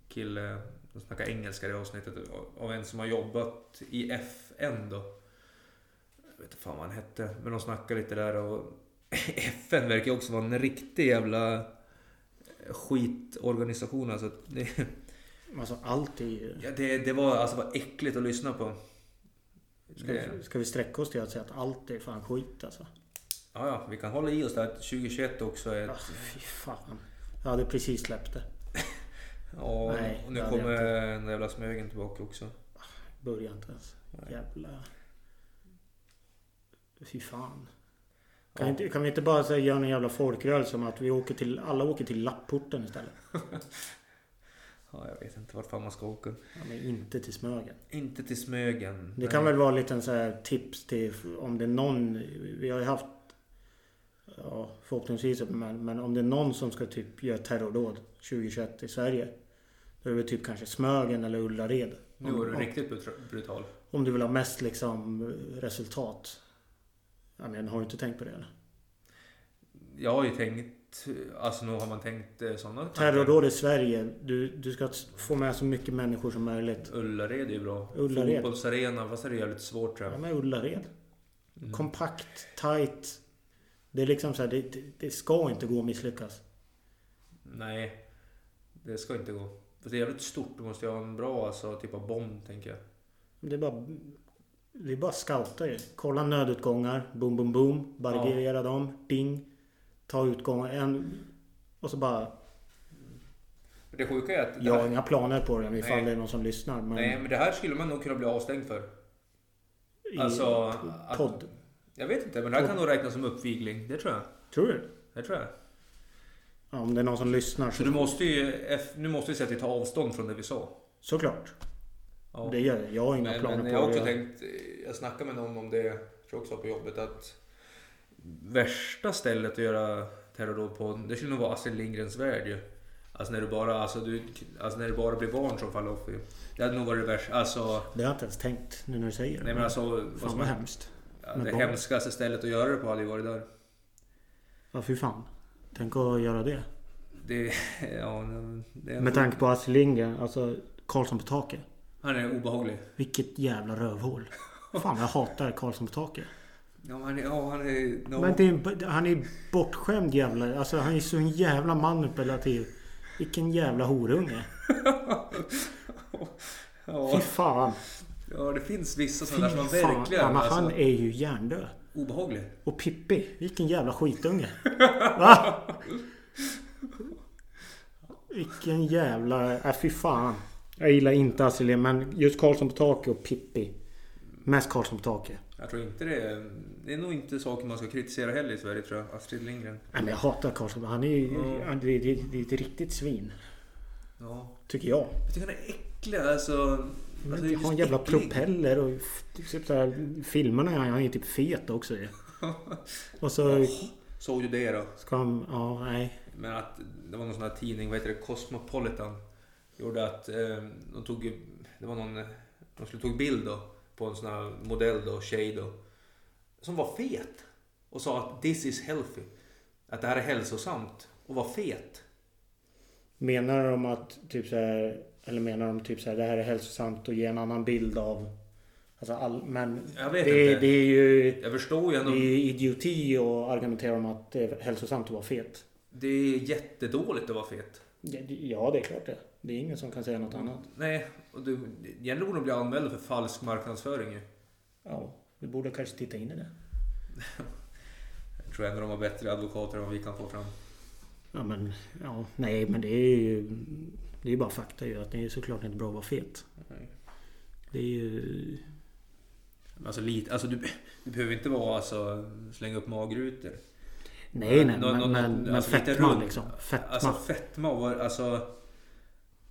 [SPEAKER 1] kille, de snackade engelska i det avsnittet, av en som har jobbat i FN då. Jag vet inte fan vad han hette, men de snackade lite där och FN verkar ju också vara en riktig jävla eh, skitorganisation alltså. Det,
[SPEAKER 2] Alltså allt är ju...
[SPEAKER 1] ja, det, det var alltså bara äckligt att lyssna på.
[SPEAKER 2] Ska, vi, ska vi sträcka oss till att säga att allt är fan skit alltså?
[SPEAKER 1] Ja, ja, vi kan hålla i oss där att 2021 också är ett
[SPEAKER 2] Alltså fy fan. Jag hade precis släppt det.
[SPEAKER 1] Ja,
[SPEAKER 2] Nej,
[SPEAKER 1] och nu
[SPEAKER 2] det hade
[SPEAKER 1] kommer
[SPEAKER 2] jag
[SPEAKER 1] den där jävla smögen tillbaka också.
[SPEAKER 2] Börja inte ens. Jävla... Fy fan. Kan,
[SPEAKER 1] Ja.
[SPEAKER 2] inte, kan vi inte bara säga, göra en jävla folkrörelse om att vi åker till, alla åker till Lapporten istället?
[SPEAKER 1] Ja, jag vet inte vart fan man ska åka.
[SPEAKER 2] Ja, men inte till Smögen.
[SPEAKER 1] Inte till Smögen.
[SPEAKER 2] Det kan
[SPEAKER 1] Nej.
[SPEAKER 2] väl vara en liten så här tips till om det är någon. Vi har ju haft ja, förhoppningsvis, men, men om det är någon som ska typ göra terrordåd 2021 i Sverige. Då är det väl typ kanske Smögen eller Ullared.
[SPEAKER 1] Nu var du
[SPEAKER 2] om,
[SPEAKER 1] riktigt brut- brutal.
[SPEAKER 2] om du vill ha mest liksom resultat. Jag menar, har du inte tänkt på det eller?
[SPEAKER 1] Jag har ju tänkt... Alltså nog har man tänkt eh, sådana
[SPEAKER 2] Terrordåd i Sverige. Du, du ska få med så mycket människor som möjligt.
[SPEAKER 1] Ullared är ju bra.
[SPEAKER 2] Ullared.
[SPEAKER 1] Fotbollsarena, fast det är jävligt svårt tror
[SPEAKER 2] Ja
[SPEAKER 1] jag.
[SPEAKER 2] men Ullared. Kompakt, tight. Det är liksom så här, det, det- det ska inte gå att misslyckas.
[SPEAKER 1] Nej, det ska inte gå. För det är jävligt stort. Du måste ju ha en bra alltså, typ av bomb, tänker jag.
[SPEAKER 2] Det är bara... Vi bara scoutar ju. Kolla nödutgångar. Boom, boom, boom. Barrigera dem. Ding. Ta utgångar. En... Och så bara...
[SPEAKER 1] Men det sjuka är att... Det
[SPEAKER 2] Jag har
[SPEAKER 1] här,
[SPEAKER 2] inga planer på den ifall
[SPEAKER 1] Nej.
[SPEAKER 2] det är någon som lyssnar. Men
[SPEAKER 1] nej, men det här skulle man nog kunna bli avstängd för.
[SPEAKER 2] i
[SPEAKER 1] Alltså... att-
[SPEAKER 2] podd.
[SPEAKER 1] Jag vet inte, men det här kan nog räknas som uppvigling. Det tror jag.
[SPEAKER 2] Tror du?
[SPEAKER 1] Det tror jag.
[SPEAKER 2] Ja, om det är någon som lyssnar
[SPEAKER 1] Så
[SPEAKER 2] så...
[SPEAKER 1] du måste ju... F- Nu måste vi säga att vi tar avstånd från det vi sa.
[SPEAKER 2] Såklart.
[SPEAKER 1] Ja.
[SPEAKER 2] Det gör jag. Jag har inga
[SPEAKER 1] men,
[SPEAKER 2] planer
[SPEAKER 1] men
[SPEAKER 2] på
[SPEAKER 1] jag har
[SPEAKER 2] det.
[SPEAKER 1] också tänkt, eh, jag snackade med någon om det, jag tror också på jobbet, att värsta stället att göra terrordåd på, det skulle nog vara Astrid Lindgrens värld ju. Alltså när du bara, alltså du, alltså när det bara blir barn som faller offer ju. Det hade nog varit det värsta, alltså,
[SPEAKER 2] Det har jag inte ens tänkt nu när du säger det.
[SPEAKER 1] nej men alltså, vad
[SPEAKER 2] Fan
[SPEAKER 1] som,
[SPEAKER 2] vad hemskt.
[SPEAKER 1] ja,
[SPEAKER 2] med
[SPEAKER 1] det
[SPEAKER 2] barn.
[SPEAKER 1] hemskaste stället att göra det på hade ju varit där.
[SPEAKER 2] Ja, fy fan. Tänk att göra det.
[SPEAKER 1] Det, ja, det är,
[SPEAKER 2] Med tanke på Astrid Lindgren. Alltså Karlsson på taket.
[SPEAKER 1] han är obehaglig.
[SPEAKER 2] Vilket jävla rövhål. Fan, jag hatar Karlsson på taket.
[SPEAKER 1] Ja, han är, ja, han är, no.
[SPEAKER 2] Men det är, en- han är bortskämd jävla... Alltså han är så en jävla manipulativ. Vilken jävla horunge. Fy
[SPEAKER 1] ja,
[SPEAKER 2] fan.
[SPEAKER 1] ja, det finns vissa
[SPEAKER 2] Fy
[SPEAKER 1] sådana där som
[SPEAKER 2] fan.
[SPEAKER 1] man verkligen,
[SPEAKER 2] Ja, men han
[SPEAKER 1] alltså,
[SPEAKER 2] är ju hjärndöd.
[SPEAKER 1] obehaglig.
[SPEAKER 2] Och Pippi. Vilken jävla skitunge. Va? Vilken jävla... Äh, fy fan. Jag gillar inte Astrid Lindgren, men just Karlsson på taket och Pippi. Mest Karlsson på taket.
[SPEAKER 1] Jag tror inte det. är- Det är nog inte saker man ska kritisera heller i Sverige tror jag. Astrid Lindgren.
[SPEAKER 2] Nej, men jag hatar Karlsson. Han är ju...
[SPEAKER 1] Mm.
[SPEAKER 2] Han, det, det, det är ett riktigt svin.
[SPEAKER 1] Ja.
[SPEAKER 2] Tycker jag.
[SPEAKER 1] Jag tycker han är äcklig alltså.
[SPEAKER 2] Men
[SPEAKER 1] alltså det är
[SPEAKER 2] har en
[SPEAKER 1] just
[SPEAKER 2] jävla
[SPEAKER 1] äcklig.
[SPEAKER 2] propeller och f- typ så här, filmerna är han han är typ fet också ju. Och så
[SPEAKER 1] Såg du det då?
[SPEAKER 2] ska han... Ja, nej.
[SPEAKER 1] Men att det var någon sån här tidning, vad heter det? Cosmopolitan. Gjorde att eh, de tog ju- det var någon, de skulle tog bild då på en sån här modell då, tjej då. Som var fet. Och sa att this is healthy. Att det här är hälsosamt. Och var fet.
[SPEAKER 2] Menar de att typ så här... Eller menar de typ så här, det här är hälsosamt och ge en annan bild av... Alltså all, men
[SPEAKER 1] Jag vet
[SPEAKER 2] det,
[SPEAKER 1] inte.
[SPEAKER 2] det är ju...
[SPEAKER 1] Jag förstår
[SPEAKER 2] Det
[SPEAKER 1] ju ändå.
[SPEAKER 2] är ju idioti att argumentera om att det är hälsosamt att vara fet.
[SPEAKER 1] Det är jättedåligt att vara fet.
[SPEAKER 2] Ja, det- Ja, det är klart det. Det är ingen som kan säga något annat.
[SPEAKER 1] Nej, och du, egentligen borde de bli anmälda för falsk marknadsföring ju.
[SPEAKER 2] Ja, vi borde kanske titta in i det.
[SPEAKER 1] Jag tror ändå de har bättre advokater än vad vi kan få fram.
[SPEAKER 2] Ja men, ja, nej men det är ju... Det är ju bara fakta ju att det är såklart inte bra att vara fet.
[SPEAKER 1] Nej.
[SPEAKER 2] Det är ju...
[SPEAKER 1] Alltså, lite, alltså du, du behöver inte vara alltså, slänga upp magrutor.
[SPEAKER 2] Nej nej,
[SPEAKER 1] Nå-
[SPEAKER 2] men,
[SPEAKER 1] nå-
[SPEAKER 2] men,
[SPEAKER 1] nå-
[SPEAKER 2] men
[SPEAKER 1] alltså, lite
[SPEAKER 2] fetma
[SPEAKER 1] rund.
[SPEAKER 2] liksom. Fetma.
[SPEAKER 1] Alltså fetma och vara- alltså...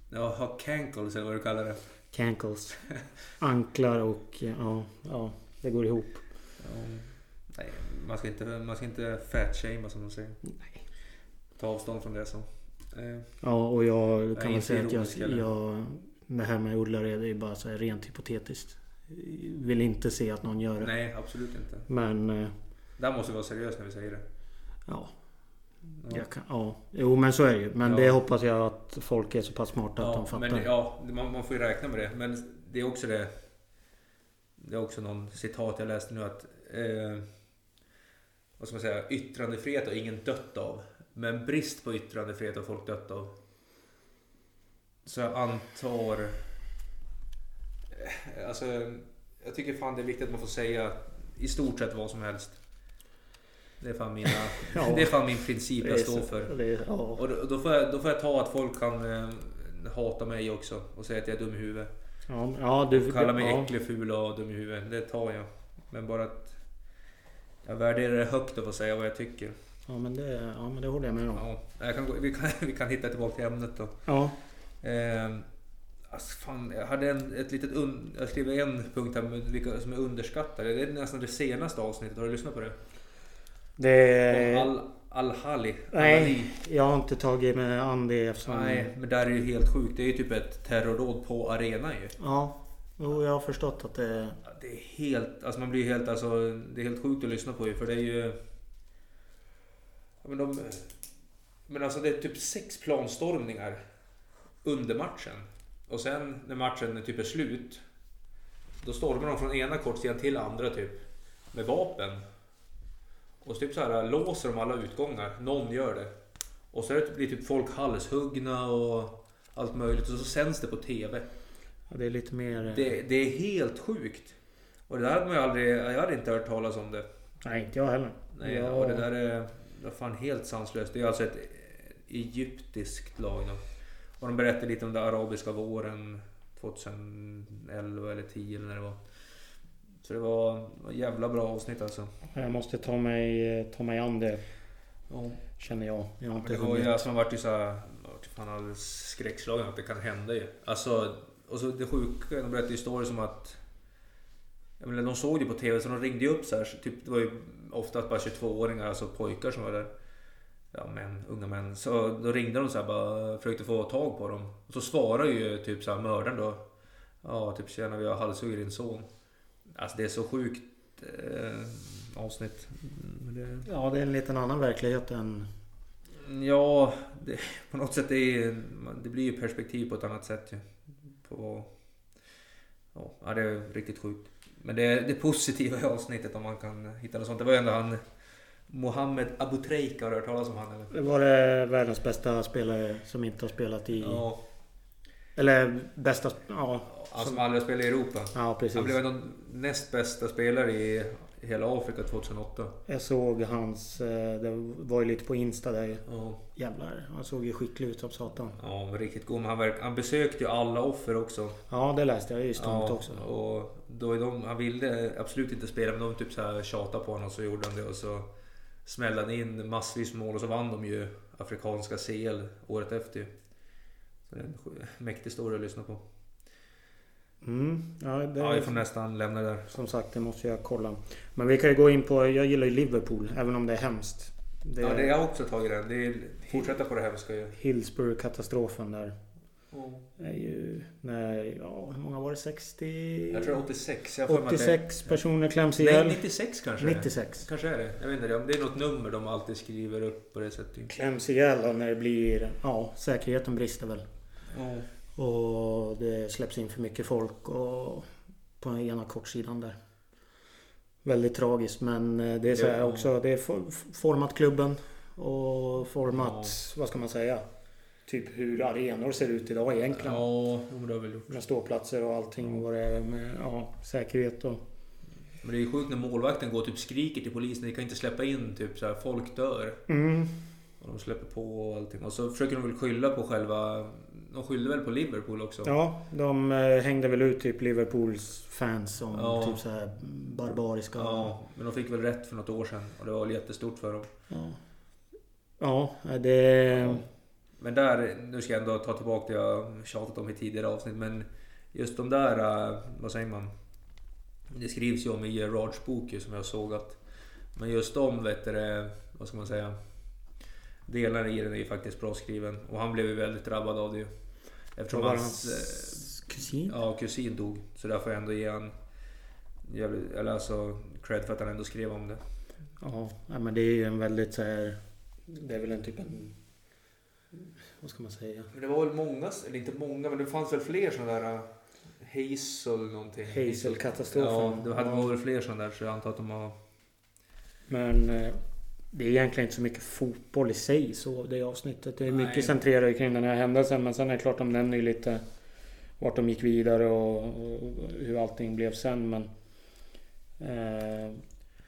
[SPEAKER 1] Ja, ha cankles eller vad du kallar det.
[SPEAKER 2] Cankles. Anklar och ja, ja, det går ihop.
[SPEAKER 1] Ja, nej, man ska inte, man ska inte fatshamea som de säger.
[SPEAKER 2] Nej.
[SPEAKER 1] Ta avstånd från det så. Eh,
[SPEAKER 2] Ja och jag
[SPEAKER 1] Jag är
[SPEAKER 2] kan väl
[SPEAKER 1] inte
[SPEAKER 2] säga att
[SPEAKER 1] ironisk
[SPEAKER 2] jag,
[SPEAKER 1] heller.
[SPEAKER 2] jag... Det här med odlare det är bara så här rent hypotetiskt. Vill inte se att någon gör det.
[SPEAKER 1] nej, absolut inte.
[SPEAKER 2] Men eh,
[SPEAKER 1] Där måste vi vara seriösa när vi säger det.
[SPEAKER 2] ja,
[SPEAKER 1] Ja.
[SPEAKER 2] jag kan, ja. Jo men så är det ju. Men
[SPEAKER 1] Ja.
[SPEAKER 2] det hoppas jag att folk är så pass smarta att de
[SPEAKER 1] Ja,
[SPEAKER 2] fattar.
[SPEAKER 1] men ja, man, man får ju räkna med det. Men det är också det. Det är också någon citat jag läste nu att. Eh, vad ska man säga? Yttrandefrihet har ingen dött av. Men brist på yttrandefrihet har folk dött av. Så jag antar. eh, Alltså, jag tycker fan det är viktigt att man får säga i stort sett vad som helst. Det är fan, mina,
[SPEAKER 2] Ja.
[SPEAKER 1] det är fan min princip jag
[SPEAKER 2] Det är
[SPEAKER 1] står
[SPEAKER 2] så-
[SPEAKER 1] för.
[SPEAKER 2] Det är, ja.
[SPEAKER 1] Och då, då, får jag, då får jag ta att folk kan eh, hata mig också och säga att jag är dum i huvudet.
[SPEAKER 2] Ja, men- ja, du,
[SPEAKER 1] Kalla mig
[SPEAKER 2] ja.
[SPEAKER 1] äcklig, ful och dum i huvudet. Det tar jag. Men bara att jag värderar det högt att få säga vad jag tycker.
[SPEAKER 2] Ja men, det, ja, men det håller jag med om.
[SPEAKER 1] Ja, jag kan, gå- vi, kan, vi kan hitta tillbaka till ämnet då.
[SPEAKER 2] Ja.
[SPEAKER 1] Eh, alltså fan, jag hade en, ett litet un, jag skrev en punkt här med vilka som är underskattade. Det är nästan det senaste avsnittet. Har du lyssnat på det?
[SPEAKER 2] Det,
[SPEAKER 1] Om Al, Al-Hali.
[SPEAKER 2] Eh. nej, jag har inte tagit med an det eftersom...
[SPEAKER 1] Nej, men där är ju helt sjukt. Det är ju typ ett terrorråd på arenan ju.
[SPEAKER 2] Ja. Jo, jag har förstått att det...
[SPEAKER 1] Ja, Det är helt, alltså man blir ju helt, alltså det är helt sjukt att lyssna på ju för det är ju... Ja, men de... Men alltså det är typ sex planstormningar under matchen. Och sen när matchen typ är slut. Då stormar de från ena kortsidan till andra typ. Med vapen. Och så typ så här låser de alla utgångar. Någon gör det. Och så är det typ- blir typ folk halshuggna och allt möjligt. Och så sänds det på TV.
[SPEAKER 2] Ja, det är lite mer... eh,
[SPEAKER 1] Det, det är helt sjukt. Och det där hade man ju aldrig... Jag hade inte hört talas om det.
[SPEAKER 2] Nej, inte jag heller.
[SPEAKER 1] Nej,
[SPEAKER 2] jag,
[SPEAKER 1] och det där är det är fan helt sanslöst. Det är alltså ett egyptiskt lag. Då. Och de berättar lite om den arabiska våren 2011 eller 10 eller när det var. Så det var var ett jävla bra avsnitt alltså.
[SPEAKER 2] jag måste ta mig, ta mig an det,
[SPEAKER 1] Ja,
[SPEAKER 2] känner jag. Jag har
[SPEAKER 1] men
[SPEAKER 2] inte
[SPEAKER 1] det var
[SPEAKER 2] hunnit.
[SPEAKER 1] ju, alltså man vart ju såhär, man vart ju fan alldeles skräckslagen att det kan hända ju. Alltså, och så det sjuka, de berättade ju stories som att jag menar, de såg det på TV så de ringde ju upp så här, så typ, det var ju oftast bara 22-åringar, alltså pojkar som var där. Ja, män, unga män. Så då ringde de så här, bara försökte få tag på dem. Och så svarar ju typ så här mördaren då. Ja, typ tjena vi har halshuggit din son. Alltså det är så sjukt eh, avsnitt. Men det...
[SPEAKER 2] Ja, det är en liten annan verklighet än...
[SPEAKER 1] Ja, det, på något sätt är, det blir ju perspektiv på ett annat sätt. Ju. På, ja, ja, det är riktigt sjukt. Men det är det positiva i avsnittet om man kan hitta något sånt. Det var ju ändå han Mohammed Abutreika, har du hört talas om han eller?
[SPEAKER 2] Det var det världens bästa spelare som inte har spelat i...
[SPEAKER 1] Ja,
[SPEAKER 2] Eller bästa... Ja,
[SPEAKER 1] han som aldrig spelade i Europa.
[SPEAKER 2] ja precis.
[SPEAKER 1] Han blev ändå näst bästa spelare i hela Afrika 2008.
[SPEAKER 2] Jag såg hans... eh, Det var ju lite på Insta där.
[SPEAKER 1] Ja,
[SPEAKER 2] Jävlar. Han såg ju skicklig ut som satan.
[SPEAKER 1] ja men riktigt god. Men han, verk, han besökte ju alla offer också.
[SPEAKER 2] Ja, det läste jag. Det är ju stumt också.
[SPEAKER 1] Och då är de, han ville absolut inte spela men de typ så här tjatade på honom och så gjorde han det och så smällde han in massvis med mål och så vann de ju Afrikanska CL året efter. ju. Så det är en sj- mäktig story att lyssna på.
[SPEAKER 2] Mm. Ja, det
[SPEAKER 1] Ja, jag får nästan lämna det där.
[SPEAKER 2] Som sagt, det måste jag kolla. Men vi kan ju gå in på... Jag gillar ju Liverpool, även om det är hemskt. Det
[SPEAKER 1] Ja, det
[SPEAKER 2] är
[SPEAKER 1] jag har också tagit den. Det är, fortsätta på det här vi ska ju.
[SPEAKER 2] Hillsborough-katastrofen där. Det är ju... När... Ja, hur många var det? 60...
[SPEAKER 1] Jag tror 86. Jag har för mig att det-
[SPEAKER 2] 86 personer kläms
[SPEAKER 1] Nej,
[SPEAKER 2] ihjäl.
[SPEAKER 1] 96 kanske.
[SPEAKER 2] 96.
[SPEAKER 1] Kanske är det. Jag vet inte. det. Om Det är något nummer de alltid skriver upp på det sättet. typ.
[SPEAKER 2] Kläms ihjäl då när det blir... Ja, säkerheten brister väl.
[SPEAKER 1] Ja.
[SPEAKER 2] Och det släpps in för mycket folk och på den ena kortsidan där. Väldigt tragiskt men eh, det är så här
[SPEAKER 1] Ja.
[SPEAKER 2] också. Det är for- format klubben och format, vad ska man säga? Typ hur arenor ser ut idag egentligen.
[SPEAKER 1] Ja, men det har väl gjort.
[SPEAKER 2] Med ståplatser och allting. Vad det är med ja, säkerhet och...
[SPEAKER 1] Men det är ju sjukt när målvakten går och typ skriker till polisen. Ni kan inte släppa in typ så här, folk dör.
[SPEAKER 2] Mm.
[SPEAKER 1] Och de släpper på och allting. Och så försöker de väl skylla på själva... De skyllde väl på Liverpool också?
[SPEAKER 2] Ja, de eh, hängde väl ut typ Liverpools fans som
[SPEAKER 1] Ja.
[SPEAKER 2] typ så här barbariska.
[SPEAKER 1] Ja, Men de fick väl rätt för något år sedan. Och det var väl jättestort för dem.
[SPEAKER 2] Ja, ja det...
[SPEAKER 1] Men där, nu ska jag ändå ta tillbaka det jag tjatat om i tidigare avsnitt. Men just de där, eh, vad säger man? Det skrivs ju om i Gerards bok ju, som jag såg att... Men just de, vet du, det, vad ska man säga? Delarna i den är ju faktiskt bra skriven. Och han blev ju väldigt drabbad av det ju. Eftersom
[SPEAKER 2] var det
[SPEAKER 1] hans... eh,
[SPEAKER 2] hans kusin?
[SPEAKER 1] Ja, kusin dog. Så där får jag ändå ge han... jävligt- Eller alltså cred för att han ändå skrev om det.
[SPEAKER 2] Ja, ja, men det är ju en väldigt så här... Det är väl en typ en... Vad ska man säga?
[SPEAKER 1] Men det var väl många, eller inte många, men det fanns väl fler sådana där... äh, Hazel någonting.
[SPEAKER 2] Hazelkatastrofen.
[SPEAKER 1] Ja, det hade varit fler sådana där så jag antar att de har...
[SPEAKER 2] Men eh, det är egentligen inte så mycket fotboll i sig så det avsnittet. Det är mycket
[SPEAKER 1] Nej.
[SPEAKER 2] centrerat kring den här händelsen men sen är det klart de nämner ju lite vart de gick vidare och, och hur allting blev sen men... Eh,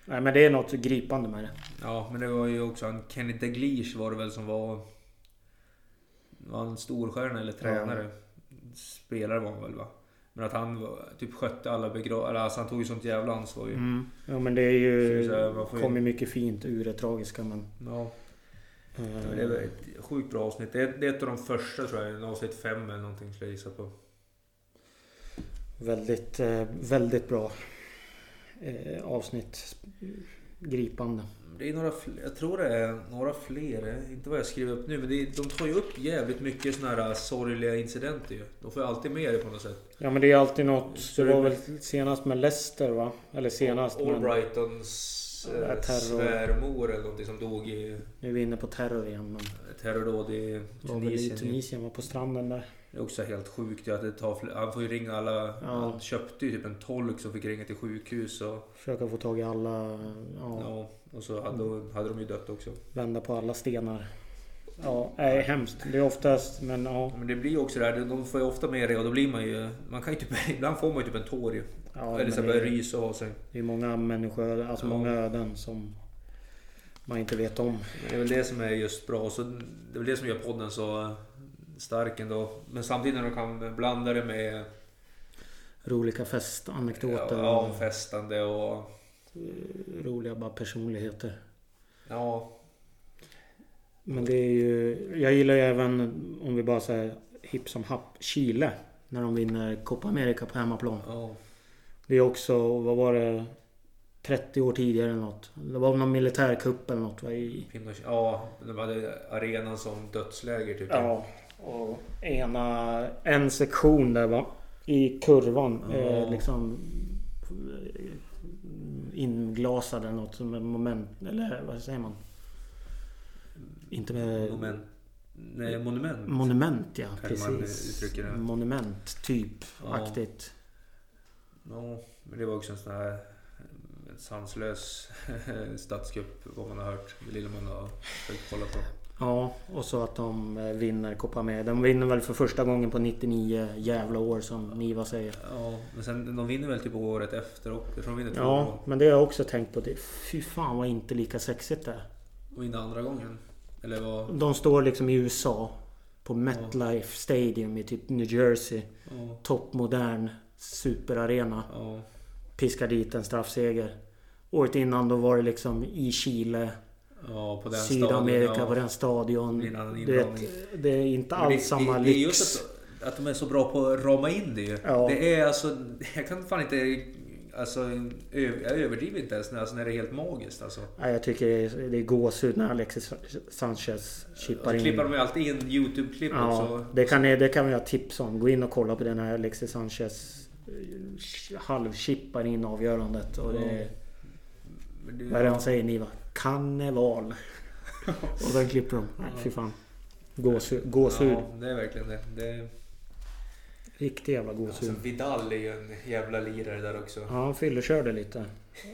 [SPEAKER 2] nej men det är något gripande med det.
[SPEAKER 1] Ja, men det var ju också han Kenny Dalglish var det väl som var... Var han storstjärna eller tränare? Spelare var han väl va? Men att han var- typ skötte alla begravningar, alltså han tog ju sånt jävla ansvar ju.
[SPEAKER 2] Ja men det är ju...
[SPEAKER 1] Så här, man får ju-
[SPEAKER 2] kommer mycket fint ur det tragiska men...
[SPEAKER 1] Ja.
[SPEAKER 2] eh,
[SPEAKER 1] Ja, Det är ett sjukt bra avsnitt. Det är, det är ett av de första tror jag. Avsnitt fem eller någonting skulle jag gissa på.
[SPEAKER 2] Väldigt, eh, väldigt bra eh, avsnitt. Gripande.
[SPEAKER 1] Det är några fler, jag tror det är några fler. eh, Inte vad jag skriver upp nu. Men det är, de tar ju upp jävligt mycket såna här eh, sorgliga incidenter ju. De får ju alltid med det på något sätt.
[SPEAKER 2] Ja men det är alltid något.
[SPEAKER 1] Så
[SPEAKER 2] Det
[SPEAKER 1] det-
[SPEAKER 2] var väl senast med Leicester va? Eller senast.
[SPEAKER 1] All
[SPEAKER 2] men,
[SPEAKER 1] Brightons... hans
[SPEAKER 2] Ja,
[SPEAKER 1] eh,
[SPEAKER 2] terror.
[SPEAKER 1] svärmor eller någonting som dog i
[SPEAKER 2] Nu är vi inne på terror igen. Men
[SPEAKER 1] ett terrordåd i
[SPEAKER 2] var väl i
[SPEAKER 1] Tunisien.
[SPEAKER 2] Tunisien, var på stranden där.
[SPEAKER 1] Det är också helt sjukt ju att det tar fl- Han får ju ringa alla... Han köpte ju typ en tolk som fick ringa till sjukhus och...
[SPEAKER 2] Försöka få tag i alla...
[SPEAKER 1] Ja.
[SPEAKER 2] Ja, Mm.
[SPEAKER 1] och så hade, hade de ju dött också.
[SPEAKER 2] Vända på alla stenar. Ja, nej, hemskt. Det är oftast, men ja.
[SPEAKER 1] Men det blir ju också det här, de får ju ofta med det och då blir man ju... Man kan ju typ, ibland får man ju typ en tår ju.
[SPEAKER 2] ja
[SPEAKER 1] Eller så
[SPEAKER 2] men det,
[SPEAKER 1] börjar
[SPEAKER 2] är,
[SPEAKER 1] det rysa av sig.
[SPEAKER 2] det är många människor, alltså
[SPEAKER 1] Ja.
[SPEAKER 2] många öden som man inte vet om.
[SPEAKER 1] Men det är väl det som är just bra. Så det är väl det som gör podden så stark ändå. Men samtidigt när de kan blanda det med
[SPEAKER 2] Roliga festanekdoter.
[SPEAKER 1] ja, festande och...
[SPEAKER 2] och Roliga bara personligheter.
[SPEAKER 1] Ja,
[SPEAKER 2] Men det är ju... Jag gillar ju även, om vi bara säger hipp som happ, Chile. När de vinner Copa America på hemmaplan.
[SPEAKER 1] ja.
[SPEAKER 2] Det är också, vad var det? 30 år tidigare eller något. Det var någon militärkupp eller något va? I,
[SPEAKER 1] Pinochet. Ja, de hade arenan som dödsläger typ.
[SPEAKER 2] ja. Och ena, en sektion där va? I kurvan.
[SPEAKER 1] Ja.
[SPEAKER 2] Eh, liksom eh, inglasad eller något. Som en moment, eller vad säger man? Inte med...
[SPEAKER 1] Moment. Nej, monument.
[SPEAKER 2] Monument ja,
[SPEAKER 1] Kan man
[SPEAKER 2] precis.
[SPEAKER 1] uttrycka det?
[SPEAKER 2] Monument typ.
[SPEAKER 1] Ja.
[SPEAKER 2] Aktigt.
[SPEAKER 1] Ja, men det var också en sån här eh, sanslös statscup vad man har hört. Det lilla man har försökt kolla på.
[SPEAKER 2] Ja, och så att de eh, vinner Copa America. De vinner väl för första gången på 99 jävla år som Niva säger.
[SPEAKER 1] Ja, men sen de vinner väl typ året efter och jag tror de vinner två
[SPEAKER 2] Ja, men det har jag också tänkt på. Det, fy fan vad inte lika sexigt det är.
[SPEAKER 1] och vinner andra gången. Eller vad?
[SPEAKER 2] De står liksom i USA. På MetLife Stadium i typ New Jersey.
[SPEAKER 1] Ja,
[SPEAKER 2] Toppmodern superarena.
[SPEAKER 1] ja,
[SPEAKER 2] Piskar dit en straffseger. Året innan då var det liksom i Chile,
[SPEAKER 1] ja på den
[SPEAKER 2] Sydamerika
[SPEAKER 1] stadion, ja.
[SPEAKER 2] på den stadion.
[SPEAKER 1] Det är en annan
[SPEAKER 2] Du vet,
[SPEAKER 1] inramning.
[SPEAKER 2] det är inte
[SPEAKER 1] Men
[SPEAKER 2] alls samma
[SPEAKER 1] det, det är
[SPEAKER 2] lyx.
[SPEAKER 1] just att, att de är så bra på att rama in det ju.
[SPEAKER 2] Ja.
[SPEAKER 1] Det är alltså... Jag kan fan inte... Alltså, ö- jag överdriver inte ens när, alltså, när det är helt magiskt alltså.
[SPEAKER 2] Nej, jag tycker det är- det är gåshud när Alexis Sanchez
[SPEAKER 1] Och
[SPEAKER 2] chippar
[SPEAKER 1] så
[SPEAKER 2] in.
[SPEAKER 1] klippar Alltså, de ju alltid in Youtube-klipp
[SPEAKER 2] Ja,
[SPEAKER 1] också.
[SPEAKER 2] det kan, ni, det kan vi ha tips om. Gå in och kolla på den här Alexis Sanchez eh, halvchippar in avgörandet. Och det,
[SPEAKER 1] Men det-
[SPEAKER 2] vad är det han säger Niva? Karneval. och den klipper de. Nej, fy fan. Gåshud. gåshud.
[SPEAKER 1] Ja, det är verkligen det. det är,
[SPEAKER 2] Riktig jävla
[SPEAKER 1] alltså,
[SPEAKER 2] gåshud.
[SPEAKER 1] Vidal är ju en jävla lirare där också.
[SPEAKER 2] Ja, han fyllekörde lite.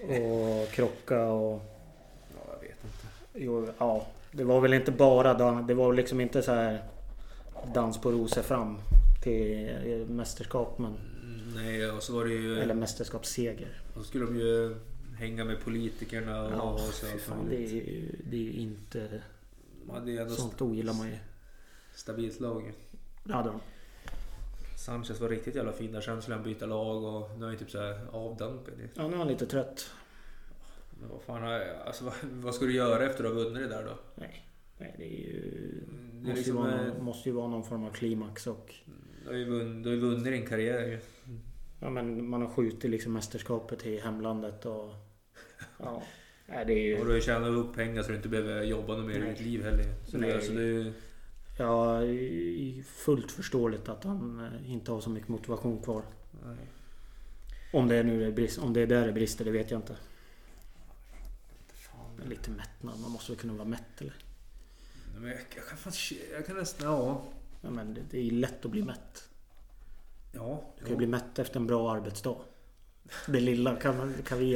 [SPEAKER 2] Och krocka och...
[SPEAKER 1] Ja, jag vet inte.
[SPEAKER 2] Jo, ja. Det var väl inte bara dans, Det var liksom inte så här dans på rosor fram till eh, mästerskap. Men,
[SPEAKER 1] Mm, Nej, och så var det ju...
[SPEAKER 2] eller mästerskapsseger.
[SPEAKER 1] Och så skulle de ju hänga med politikerna och,
[SPEAKER 2] Ja,
[SPEAKER 1] och så.
[SPEAKER 2] fy
[SPEAKER 1] allt
[SPEAKER 2] fan, det, är,
[SPEAKER 1] möjligt.
[SPEAKER 2] ju- det är ju inte...
[SPEAKER 1] De hade ju ändå
[SPEAKER 2] Sånt ogillar man ju.
[SPEAKER 1] ett stabilt lag.
[SPEAKER 2] Det hade de.
[SPEAKER 1] Sanchez var riktigt jävla fin där. Sen skulle han byta lag och nu är han typ såhär avdankad. ju.
[SPEAKER 2] Ja, nu är han lite trött.
[SPEAKER 1] Men vad fan, har jag- alltså, vad, vad ska du göra efter att ha vunnit det där då?
[SPEAKER 2] Nej, nej det är ju...
[SPEAKER 1] Det är
[SPEAKER 2] Måste,
[SPEAKER 1] liksom,
[SPEAKER 2] ju vara
[SPEAKER 1] eh,
[SPEAKER 2] någon, måste ju vara någon form av klimax och...
[SPEAKER 1] du har ju vunn- du har ju vunnit din karriär ju.
[SPEAKER 2] Ja, men man har skjutit liksom mästerskapet i hemlandet och... Ja. Nej, det är
[SPEAKER 1] Och
[SPEAKER 2] ju...
[SPEAKER 1] du har ju tjänat upp pengar så du inte behöver jobba något mer i
[SPEAKER 2] Nej.
[SPEAKER 1] ditt liv heller. Så det,
[SPEAKER 2] Nej.
[SPEAKER 1] alltså, det är ju...
[SPEAKER 2] Ja, i- i- fullt förståeligt att han eh, inte har så mycket motivation kvar.
[SPEAKER 1] Nej.
[SPEAKER 2] Om det är nu det är brist, om det är där det brister, det vet jag inte.
[SPEAKER 1] Fan.
[SPEAKER 2] Men lite mättnad, man måste väl kunna vara mätt eller?
[SPEAKER 1] Men jag, jag kan fan... Jag kan nästan... Ja.
[SPEAKER 2] Ja, men det, det är ju lätt att bli mätt.
[SPEAKER 1] Ja.
[SPEAKER 2] Du kan ju bli mätt efter en bra arbetsdag. Det lilla kan, man, kan vi ge.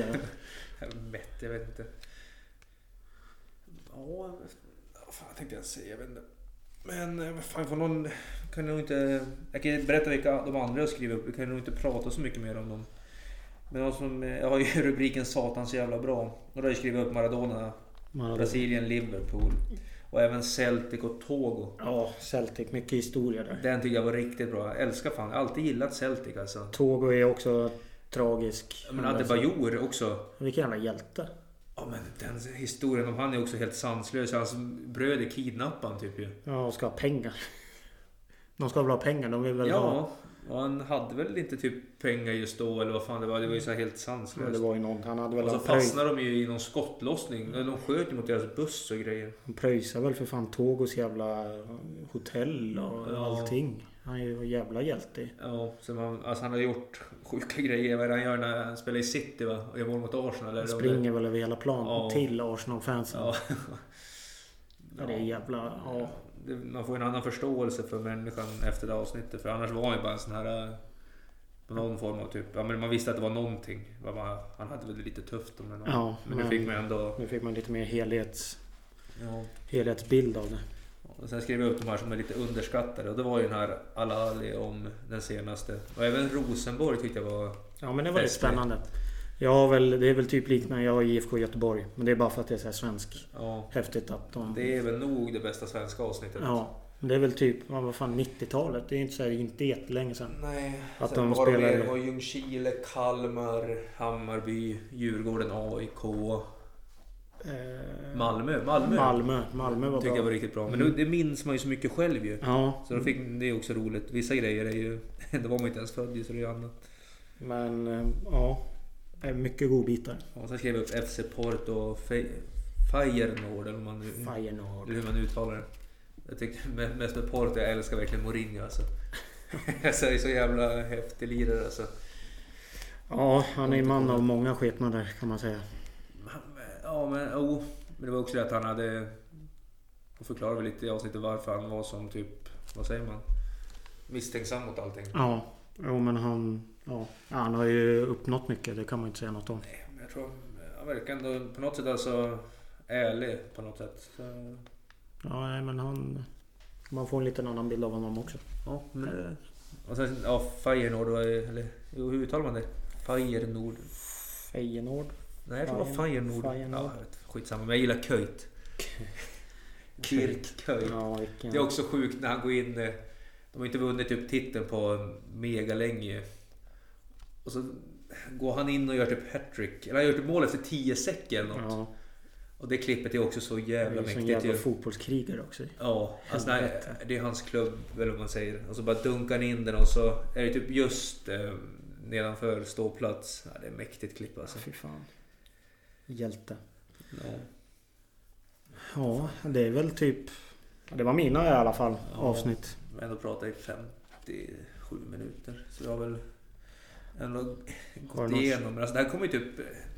[SPEAKER 1] Jag är mätt, jag vet inte. Ja, vad fan tänkte jag säga? Jag vet inte. Men eh, vad fan, får någon... Kan nog inte... Jag kan ju berätta vilka de andra jag skriver upp. Vi kan nog inte prata så mycket mer om dem. Men de som, eh, jag har ju rubriken Satan så jävla bra. Och då har jag skrivit upp Maradona,
[SPEAKER 2] Man
[SPEAKER 1] Brasilien, Liverpool. Och även Celtic och Togo.
[SPEAKER 2] ja, Celtic. Mycket historia där.
[SPEAKER 1] Den tycker jag var riktigt bra. Jag älskar fan. Jag har alltid gillat Celtic alltså.
[SPEAKER 2] Togo är också tragisk.
[SPEAKER 1] Men alltså- Adebayor också.
[SPEAKER 2] Vilken jävla hjälte.
[SPEAKER 1] Ja men den historien om han är också helt sanslös. Hans bröder kidnappade han typ ju.
[SPEAKER 2] Ja, och ska ha pengar. De ska väl ha pengar? De vill väl ha...
[SPEAKER 1] Ja. Och han hade väl inte typ pengar just då eller vad fan det var. Det var ju så här helt
[SPEAKER 2] Men det
[SPEAKER 1] sanslöst.
[SPEAKER 2] var ju någon. Han hade väl...
[SPEAKER 1] Och så
[SPEAKER 2] han pröjs-
[SPEAKER 1] fastnade de ju i någon skottlossning. De sköt ju mot deras buss och grejer.
[SPEAKER 2] Han pröjsar väl för fan Togos jävla eh, hotell och
[SPEAKER 1] Ja.
[SPEAKER 2] allting. Han är ju en jävla hjälte.
[SPEAKER 1] Ja, så man, alltså han har gjort sjuka grejer. Vad är det han gör när han spelar i City va? Och gör mål mot Arsenal? Eller
[SPEAKER 2] Han
[SPEAKER 1] om
[SPEAKER 2] springer väl över hela planen
[SPEAKER 1] Ja.
[SPEAKER 2] till Arsenal-fansen.
[SPEAKER 1] Ja.
[SPEAKER 2] Ja, det är jävla... Ja.
[SPEAKER 1] Det- Man får en annan förståelse för människan efter det avsnittet. För annars var han ju bara en sån här... eh, Någon form av typ... Ja, men man visste att det var någonting. Vad man- Han hade väl det lite tufft. Men,
[SPEAKER 2] Ja,
[SPEAKER 1] men nu
[SPEAKER 2] men-
[SPEAKER 1] fick man ändå...
[SPEAKER 2] Nu fick man lite mer helhets,
[SPEAKER 1] Ja.
[SPEAKER 2] helhetsbild av det.
[SPEAKER 1] Och sen skrev jag upp de här som är lite underskattade. Och det var ju den här Al-Ali om den senaste. Och även Rosenborg tyckte jag var...
[SPEAKER 2] Ja men det var ju
[SPEAKER 1] Festligt.
[SPEAKER 2] spännande. Jag har väl, det är väl typ liknande. Jag har IFK Göteborg. Men det är bara för att det är så här svensk.
[SPEAKER 1] Ja,
[SPEAKER 2] Häftigt att de...
[SPEAKER 1] det är väl nog det bästa svenska avsnittet.
[SPEAKER 2] Ja. Men Det är väl typ, ja, vad fan 90-talet. Det är inte så här, inte jättelänge sedan.
[SPEAKER 1] Nej.
[SPEAKER 2] Att
[SPEAKER 1] Sen
[SPEAKER 2] de
[SPEAKER 1] var det
[SPEAKER 2] spelar-
[SPEAKER 1] mer- Det var Ljungskile, Kalmar, Hammarby, Djurgården, AIK.
[SPEAKER 2] Eh,
[SPEAKER 1] Malmö. Malmö.
[SPEAKER 2] Malmö. Malmö var
[SPEAKER 1] tycker jag var
[SPEAKER 2] bra.
[SPEAKER 1] riktigt bra. Men det minns man ju så mycket själv ju.
[SPEAKER 2] Ja.
[SPEAKER 1] Så då fick, det är också roligt. Vissa grejer är ju... Då var man ju inte ens född i, så det är ju annat.
[SPEAKER 2] Men eh, ja. Eh, Mycket godbitar.
[SPEAKER 1] Och sen skrev jag upp FC Porto och Fe- Feyenoord, eller, om man nu, eller
[SPEAKER 2] Feyenoord.
[SPEAKER 1] hur man uttalar det. Jag tyckte me- mest med Porto, jag älskar verkligen Mourinho alltså. alltså det är så jävla häftig lirare alltså.
[SPEAKER 2] Ja, han är en man av många skepnader kan man säga.
[SPEAKER 1] Han- Ja men jo. Men det var också det att han hade... Och förklarade väl lite i avsnittet varför han var som typ... Vad säger man? Misstänksam mot allting.
[SPEAKER 2] Ja. Jo men han... Ja. Ja, Han har ju uppnått mycket. Det kan man ju inte säga något om.
[SPEAKER 1] Nej, men jag tror han verkar ändå på något sätt alltså ärlig på något sätt. Så,
[SPEAKER 2] Ja, nej, men han... Man får en liten annan bild av honom också.
[SPEAKER 1] ja, men det... Och sen, ja, Feyenoord var ju- eller jo, hur uttalar man det? Feyenoord?
[SPEAKER 2] Feyenoord.
[SPEAKER 1] Nej, jag tror det var
[SPEAKER 2] Feyen-
[SPEAKER 1] Feyenoord.
[SPEAKER 2] Feyenoord.
[SPEAKER 1] Ja, jag vet, skitsamma, men jag gillar Köjt. Kirk Köjt.
[SPEAKER 2] Ja, vilken...
[SPEAKER 1] Det är också sjukt när han går in. eh, De har inte vunnit upp titeln på mega länge. Och så går han in och gör typ hattrick. Eller han gör typ mål efter 10 säck eller något.
[SPEAKER 2] Ja,
[SPEAKER 1] Och det klippet är också så
[SPEAKER 2] det är
[SPEAKER 1] jävla
[SPEAKER 2] ju sån
[SPEAKER 1] mäktigt
[SPEAKER 2] jävla
[SPEAKER 1] ju.
[SPEAKER 2] fotbollskrigare också.
[SPEAKER 1] Ja, alltså nej,
[SPEAKER 2] Helvete.
[SPEAKER 1] det är hans klubb eller vad man säger. Och så bara dunkar han in den och så är det typ just eh, nedanför ståplats. Ja, det är mäktigt klipp alltså.
[SPEAKER 2] Fy fan. Hjälte.
[SPEAKER 1] Ja.
[SPEAKER 2] Ja, det är väl typ... Det var mina i alla fall,
[SPEAKER 1] Ja.
[SPEAKER 2] avsnitt.
[SPEAKER 1] Men ändå pratar i 57 minuter. Så jag har väl ändå
[SPEAKER 2] Har
[SPEAKER 1] gått
[SPEAKER 2] du någon-
[SPEAKER 1] igenom. Men alltså det här kommer ju typ...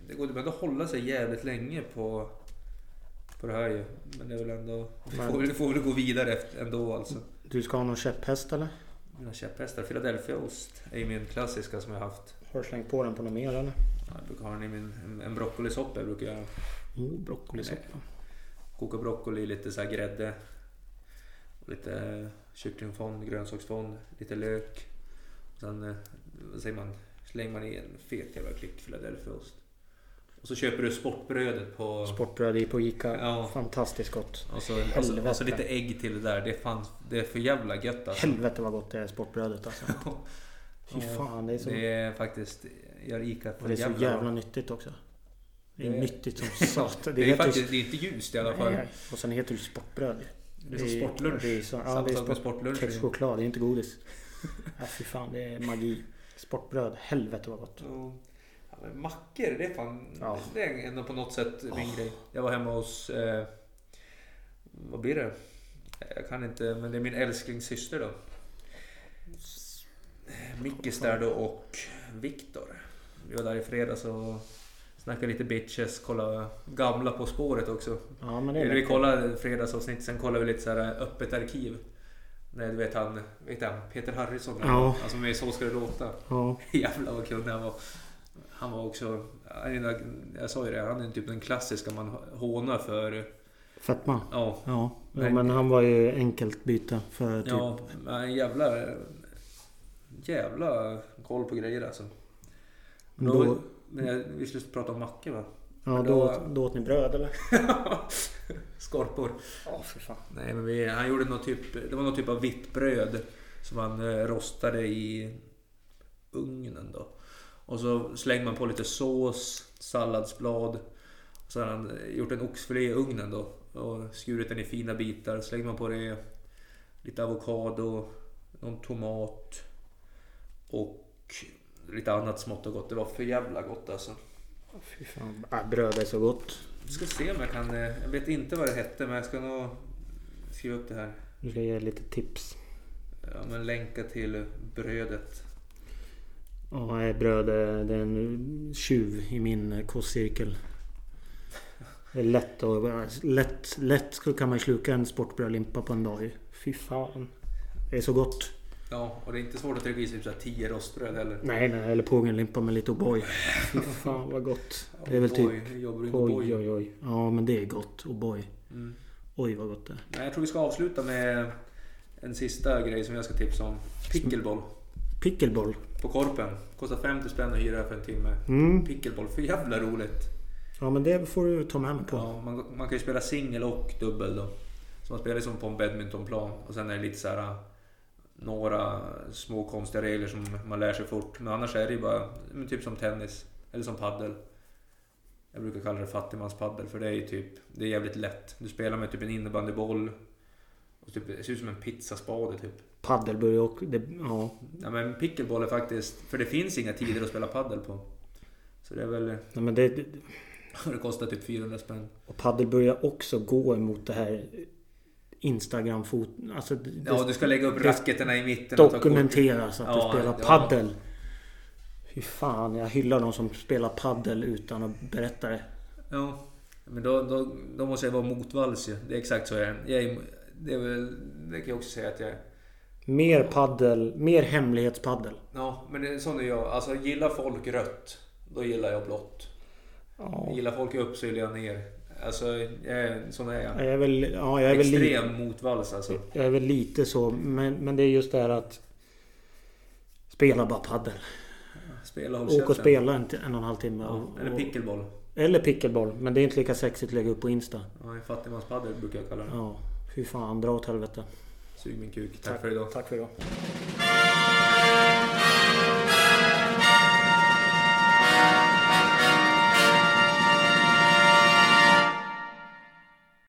[SPEAKER 1] Det går ju ändå att hålla sig jävligt länge på, på det här ju. Men det är väl ändå... Vi
[SPEAKER 2] Men-
[SPEAKER 1] får, väl- vi får väl gå vidare efter, ändå alltså.
[SPEAKER 2] Du ska ha någon käpphäst eller?
[SPEAKER 1] Mina käpphästar. Philadelphia Ost är ju min klassiska som jag har haft.
[SPEAKER 2] Har du slängt på den på något mer eller?
[SPEAKER 1] Jag brukar ha den i min, en, en broccolisoppa. Jag brukar göra.
[SPEAKER 2] Oh, broccolisoppa.
[SPEAKER 1] koka broccoli, lite så här grädde. Och lite kycklingfond, grönsaksfond, lite lök. Och sen eh, vad säger man, slänger man i en fet jävla klick Philadelphiaost. Och så köper du sportbrödet på...
[SPEAKER 2] Sportbröd i på Ica.
[SPEAKER 1] Ja.
[SPEAKER 2] Fantastiskt gott.
[SPEAKER 1] Och så, och, så, och så
[SPEAKER 2] Helvete.
[SPEAKER 1] alltså lite ägg till det där. Det är, fan, det är för jävla gött alltså.
[SPEAKER 2] Helvete vad gott det är sportbrödet alltså. Fy
[SPEAKER 1] Ja,
[SPEAKER 2] fan, det är så...
[SPEAKER 1] Det är faktiskt... Gör Ica
[SPEAKER 2] Och
[SPEAKER 1] för
[SPEAKER 2] det är så jävla
[SPEAKER 1] bra.
[SPEAKER 2] nyttigt också. Det är
[SPEAKER 1] Det-
[SPEAKER 2] nyttigt som
[SPEAKER 1] Ja,
[SPEAKER 2] satan.
[SPEAKER 1] Det
[SPEAKER 2] heter
[SPEAKER 1] är,
[SPEAKER 2] ju-
[SPEAKER 1] faktiskt, det är inte ljust i alla fall.
[SPEAKER 2] Nej, Och sen heter det sportbröd.
[SPEAKER 1] Det är som sportlunch.
[SPEAKER 2] Det är så, ja,
[SPEAKER 1] Samma
[SPEAKER 2] det är
[SPEAKER 1] sak med
[SPEAKER 2] sport,
[SPEAKER 1] sportlunch.
[SPEAKER 2] kexchoklad, det är inte godis. ja, fy fan, det är magi. Sportbröd, helvete vad gott.
[SPEAKER 1] Ja, men mackor, det är fan...
[SPEAKER 2] Ja. Ah.
[SPEAKER 1] Det är ändå på något sätt min grej. Jag var hemma hos... Eh, vad blir det? Jag kan inte, men det är min älsklingssyster då. Mickis där då och Viktor. Vi var där i fredags och snackade lite bitches, kolla gamla På spåret också.
[SPEAKER 2] Ja, men det är
[SPEAKER 1] Eller vi
[SPEAKER 2] läckert.
[SPEAKER 1] kollade fredagsavsnitt, sen kollade vi lite så här eh, öppet arkiv. Nej, du vet han, vet han Peter Harrison?
[SPEAKER 2] Ja.
[SPEAKER 1] Han som är i Så ska det låta.
[SPEAKER 2] Ja,
[SPEAKER 1] Jävlar vad kunnig han var. Han var också, han är den- jag sa ju det, han är typ den klassiska man hånar för.
[SPEAKER 2] fetma.
[SPEAKER 1] Ja,
[SPEAKER 2] Ja. ja,
[SPEAKER 1] Nej.
[SPEAKER 2] men han var ju enkelt byte för typ...
[SPEAKER 1] ja men jävla, jävla koll på grejer alltså.
[SPEAKER 2] Då,
[SPEAKER 1] Då, men jag, vi skulle prata om mackor va?
[SPEAKER 2] ja,
[SPEAKER 1] då-
[SPEAKER 2] då, då åt ni bröd eller?
[SPEAKER 1] Skorpor.
[SPEAKER 2] Ja, fy fan.
[SPEAKER 1] Nej men vi, han gjorde något typ, det var någon typ av vitt bröd som han eh, rostade i ugnen då. Och så slänger man på lite sås, salladsblad. Och så har han eh, gjort en oxfilé i ugnen då och skurit den i fina bitar. Slänger man på det lite avokado, någon tomat och lite annat smått och gott. Det var för jävla gott alltså.
[SPEAKER 2] Fy fan. Ja, bröd är så gott.
[SPEAKER 1] Jag ska se om jag kan, eh, jag vet inte vad det hette men jag ska nog skriva upp det här.
[SPEAKER 2] Du ska ge lite tips.
[SPEAKER 1] Eh, Ja, men länka till brödet.
[SPEAKER 2] Ja, nej, bröd är- det är en tjuv i min kostcirkel. Det är lätt och lätt, lätt så kan man ju sluka en sportbrödlimpa på en dag ju. Fy fan. Det är så gott.
[SPEAKER 1] Ja, och det är inte svårt att trycka i sig typ så här 10 rostbröd heller.
[SPEAKER 2] Nej, nej, eller pågenlimpa med lite O'boy. Fy fan vad gott. Det är väl typ...
[SPEAKER 1] Oj, jobbar du med
[SPEAKER 2] Oj,
[SPEAKER 1] boj?
[SPEAKER 2] oj, oj. Ja, men det är gott. O'boy.
[SPEAKER 1] Mm.
[SPEAKER 2] Oj, vad gott det är.
[SPEAKER 1] Nej, jag tror vi ska avsluta med en sista grej som jag ska tipsa om. Pickleball
[SPEAKER 2] Pickleball.
[SPEAKER 1] på Korpen. Kostar 50 spänn att hyra för en timme.
[SPEAKER 2] Mm.
[SPEAKER 1] Pickleball, för jävla roligt.
[SPEAKER 2] Ja, men det får du ta med mig på.
[SPEAKER 1] Ja, man, man kan ju spela singel och dubbel då. Så man spelar liksom på en badmintonplan och sen är det lite så här några små konstiga regler som man lär sig fort. Men annars är det ju bara men typ som tennis eller som paddel. Jag brukar kalla det fattigmanspaddel för det är ju typ, det är jävligt lätt. Du spelar med typ en innebandyboll och typ, det ser ut som en pizzaspade typ.
[SPEAKER 2] Paddelburg och... Det, ja.
[SPEAKER 1] Ja, men pickleball är faktiskt... För det finns inga tider att spela paddel på. Så det är väl...
[SPEAKER 2] Nej, men det,
[SPEAKER 1] Det kostar typ 400 spänn.
[SPEAKER 2] och padel börjar också gå emot det här Instagram-fot... Alltså, det,
[SPEAKER 1] Ja, och du ska lägga upp
[SPEAKER 2] det
[SPEAKER 1] racketerna i mitten. och ta kort.
[SPEAKER 2] dokumenteras att
[SPEAKER 1] Ja,
[SPEAKER 2] du spelar
[SPEAKER 1] ja.
[SPEAKER 2] paddel. Fy fan, jag hyllar de som spelar paddel utan att berätta det.
[SPEAKER 1] Ja. Men då, då, då måste jag vara motvalls ju. Det är exakt så jag är. Jag är det, är väl, det kan jag också säga att jag är.
[SPEAKER 2] Mer paddel, mer hemlighetspaddel.
[SPEAKER 1] Ja, men det är sån är jag. Alltså, gillar folk rött, då gillar jag blått.
[SPEAKER 2] Ja,
[SPEAKER 1] Gillar folk upp så gillar jag ner. Alltså, jag är, sån är jag.
[SPEAKER 2] jag är väl, ja, jag är väl lite...
[SPEAKER 1] Extrem motvalls alltså.
[SPEAKER 2] Jag är väl lite så, men, men det är just det här att Spela bara padel.
[SPEAKER 1] Spela håll
[SPEAKER 2] Åk och
[SPEAKER 1] käften.
[SPEAKER 2] spela en, en och en halv timme.
[SPEAKER 1] Ja,
[SPEAKER 2] och,
[SPEAKER 1] eller
[SPEAKER 2] och,
[SPEAKER 1] pickleball.
[SPEAKER 2] eller pickleball. Men det är inte lika sexigt att lägga upp på Insta.
[SPEAKER 1] Ja, fattigmanspaddel brukar jag kalla det.
[SPEAKER 2] Ja, fy fan. Dra åt helvete.
[SPEAKER 1] Sug min kuk. Tack för idag.
[SPEAKER 2] Tack för idag.